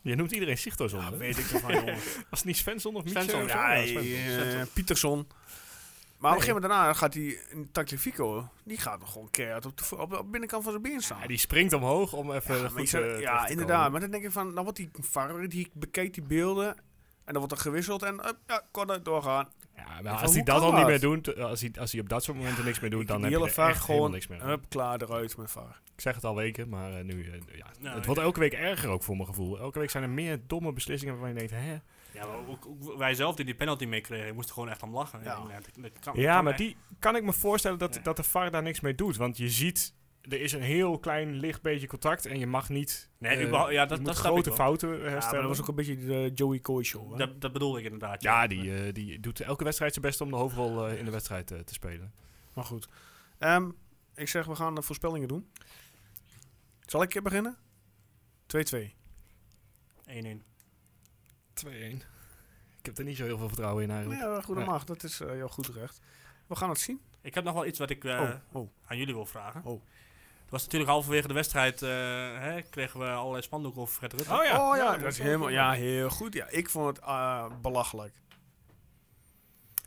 Je noemt iedereen Sigtos onder. weet ik ervan, jongen. Was het niet Svensson of Mietje? Svensson, of zo? Ja, Ja, Svensson. eh, Pietersson. Maar op een gegeven moment daarna gaat die Taclifico, die gaat nog gewoon keihard op de, vo- op, op de binnenkant van zijn been staan. Ja, die springt omhoog om even Maar goed ik zou- eh, terecht ja te inderdaad. komen. Maar dan denk ik van, dan wordt die VAR, die bekijkt die beelden en dan wordt er gewisseld en up, ja, kon het doorgaan. Ja, maar Ja, als hoe hij dat kan al niet dat? meer doet, eh, als hij, als hij op dat soort momenten niks meer doet, dan die heb je hele er VAR echt gewoon gewoon, niks meer. aan. Up, klaar, eruit met VAR. Ik zeg het al weken, maar eh, nu, eh, ja, Nou, het ik- wordt elke week erger ook voor mijn gevoel. Elke week zijn er meer domme beslissingen waarvan je denkt, hè? Ja, maar ook, ook wij zelf die die penalty meekregen, moesten gewoon echt om lachen. Ja. dat- dat kan- Ja, kan maar echt. die kan ik me voorstellen dat, Ja. dat de VAR daar niks mee doet. Want je ziet, eh, er is een heel klein licht beetje contact en je mag niet Nee, eh, überhaupt- ja, je dat- moet dat snap ik grote wel. fouten eh, Ja, maar herstellen. Dus dat was ook een beetje de Joey Coy show. hè? Dat, dat bedoelde ik inderdaad. Ja, die, eh, die doet elke wedstrijd zijn best om de hoofdrol eh, in de wedstrijd eh, te spelen. Maar goed. Ehm, ik zeg, we gaan de voorspellingen doen. Zal ik beginnen? 2-2. eh. 1-1. 2-1. Ik heb er niet zo heel veel vertrouwen in eigenlijk. Ja, goed, dat Ja. mag. Dat is eh, jouw goed recht. We gaan het zien. Ik heb nog wel iets wat ik eh, oh, oh. aan jullie wil vragen. Oh. Het was natuurlijk halverwege de wedstrijd, eh, hè, kregen we allerlei spandoeken over Fred Rutte. Oh ja, dat is helemaal, ja, heel goed. Ja, ik vond het eh, belachelijk.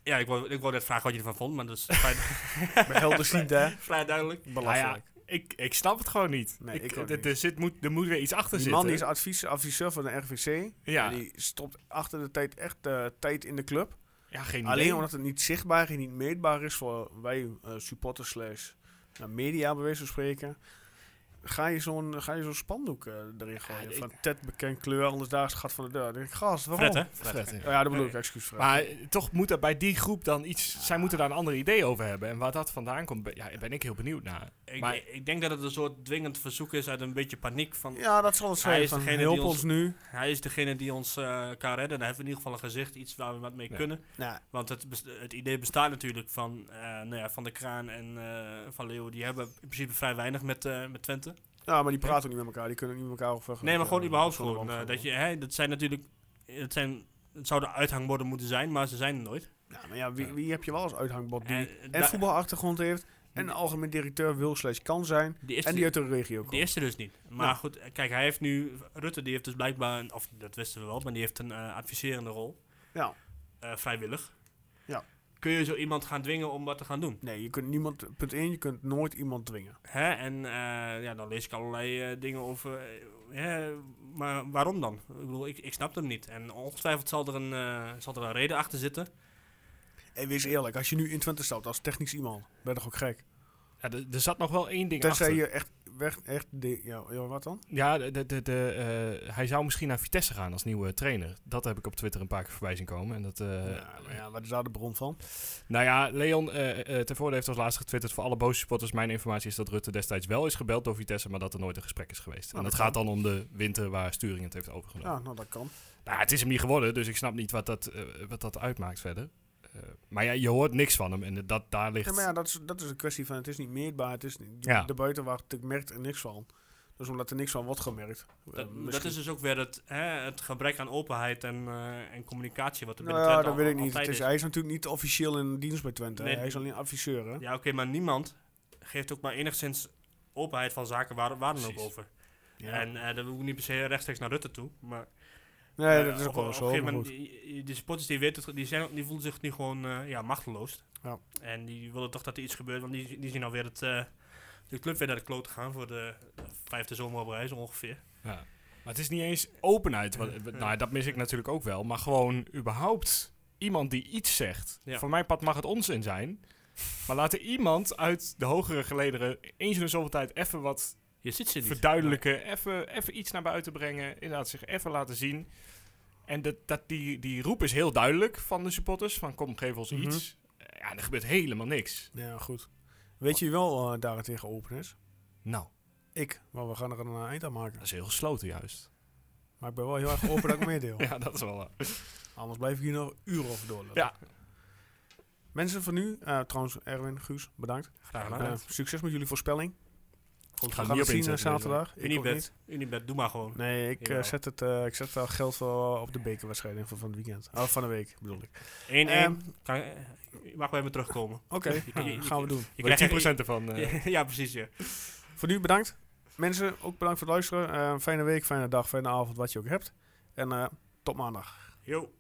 Ja, ik wou, ik wou net vragen wat je ervan vond, maar dat is vrij, Bij helder ziet, hè? vrij duidelijk. Belachelijk. ik, ik snap het gewoon niet. Nee, ik ook er- niet. Er, zit, moet, er moet weer iets achter Die zitten. man die is advies, adviseur van de RVC. Ja. En die stopt achter de tijd echt eh, tijd in de club. ja, geen idee. Alleen omdat het niet zichtbaar en niet meetbaar is voor wij eh, supporters slash nou, media bij wijze van spreken. Ga je zo'n ga je zo'n spandoek eh, erin gooien? ik- van Ted bekend kleur, anders daags gaat van de deur. Dan denk ik, gast, waarom? Fred, hè? Fred, ja. Oh ja, dat bedoel ik, excuus Fred. Maar eh, toch moet er bij die groep dan iets... Zij moeten daar een ander idee over hebben. En waar dat vandaan komt, ben- ja, ben ik heel benieuwd naar. Ik, Maar- ik- ik denk dat het een soort dwingend verzoek is uit een beetje paniek. Van, ja, dat zal het Hij zijn. is Van, eh, degene help die ons- ons nu. Hij is degene die ons eh, kan redden. Dan hebben we in ieder geval een gezicht, iets waar we wat mee Ja. kunnen. Nou, Want het, bes- het idee bestaat natuurlijk van, eh, nou ja, van de Kraan en eh, van Leeuwen. Die hebben in principe vrij weinig met, eh, met Twente. ja, maar die praten ook niet met elkaar. Die kunnen ook niet met elkaar over. Nee, maar gewoon eh, überhaupt zonder gewoon. eh, wand- dat je, hè, dat zijn natuurlijk, het, zijn, het zou de uithangborden moeten zijn, maar ze zijn er nooit. Ja, Nou, maar ja, wie, wie heb je wel als uithangbord die Eh, en da- voetbalachtergrond heeft en een algemeen directeur wil slash kan zijn Die eerste, en die uit de regio komt? die eerste dus niet. Maar Ja. goed, eh, kijk, hij heeft nu, Rutte die heeft dus blijkbaar, een- of dat wisten we wel, maar die heeft een eh, adviserende rol. Ja. Eh, vrijwillig. Ja. Kun je zo iemand gaan dwingen om wat te gaan doen? Nee, je kunt niemand, punt 1, je kunt nooit iemand dwingen. Hè? En eh, ja, dan lees ik allerlei eh, dingen over. eh, hè, maar waarom dan? Ik bedoel, ik, ik snap hem niet. En ongetwijfeld zal er, een, eh, zal er een reden achter zitten. Eh, En wees eerlijk, als je nu in Twente stapt als technisch iemand, ben je toch ook gek? Ja, er, er zat nog wel één ding Tenzij achter. je echt, weg, echt de, ja, ja, wat dan? Ja, de, de, de, de, eh, hij zou misschien naar Vitesse gaan als nieuwe trainer. Dat heb ik op Twitter een paar keer voorbij zien komen. En dat, eh, ja, maar ja, wat is daar de bron van? Nou ja, Leon eh eh, Tervoorde heeft als laatste getwitterd voor alle boze supporters. Mijn informatie is dat Rutte destijds wel is gebeld door Vitesse, maar dat er nooit een gesprek is geweest. en Oh, dat dat gaat dan om de winter waar Sturing het heeft overgenomen. Ja, nou dat kan. Nou, het is hem niet geworden, dus ik snap niet wat dat, eh, wat dat uitmaakt verder. Eh, maar ja, je hoort niks van hem en dat, daar ligt... Ja, maar ja, dat is, dat is een kwestie van, het is niet meetbaar, het is niet, Ja. de buitenwacht ik merkt er niks van. Dus omdat er niks van wordt gemerkt. eh, Dat, dat misschien- is dus ook weer het, hè, het gebrek aan openheid en, eh, en communicatie wat er Nou binnen ja, Twente dat al- weet ik niet. altijd Het is, hij is natuurlijk niet officieel in dienst bij Twente. hè. Nee. hij is alleen adviseur, hè? Ja, oké, maar niemand geeft ook maar enigszins openheid van zaken waar, waar dan ook Precies. over. Ja. En eh dat hoeft niet per se rechtstreeks naar Rutte toe. Maar nee, Eh, dat is ook op- wel op een zo, gegeven maar moment, goed. Die, die supporters die weten het, die, zijn, die voelen zich nu gewoon eh, ja, machteloos. Ja. En die willen toch dat er iets gebeurt, want die, die zien alweer het, eh, de club weer naar de kloot gaan voor de vijfde zomer op rij, zo ongeveer. Ja. Maar het is niet eens openheid. Wat, wat- nou, dat mis ik natuurlijk ook wel. Maar gewoon überhaupt iemand die iets zegt. Ja. Voor mijn pad mag het onzin zijn. Maar laat er iemand uit de hogere gelederen eens in de zoveel tijd even wat Je ziet ze niet. verduidelijken. Even, even iets naar buiten brengen. Inderdaad, zich even laten zien. En dat, dat die, die roep is heel duidelijk van de supporters. Van kom, geef ons Mhm. iets. Ja, er gebeurt helemaal niks. Ja, goed. Weet je wie wel eh daarentegen open is? Nou, Ik, maar we gaan er een eh, eind aan maken. dat is heel gesloten juist. Maar ik ben wel heel erg open dat ik meedeel. Ja, dat is wel... waar. Anders blijf ik hier nog uren over doorlopen. Ja. Mensen van nu, eh, trouwens Erwin, Guus, bedankt. Graag Eh, gedaan. succes met jullie voorspelling. Goed, We er gaan niet het op zien eh, inzetten, deze zaterdag. Ik ook niet. Unibed, Unibed, doe maar gewoon. Nee, ik, eh, Jawel. zet het, eh, ik zet daar geld voor eh, op de bekerwedstrijd in voor van het weekend. Oh, van de week bedoel ik. 1-1, Ehm, Kan- eh, je mag bij me terugkomen. Oké, je- je- nou, gaan we doen. Je week. krijgt- 10% ervan. eh, ja, precies. Ja. Voor nu bedankt. Mensen, ook Ehm, bedankt voor het luisteren. Eh, fijne week, fijne dag, fijne avond, wat je ook hebt. En eh, tot maandag. Yo.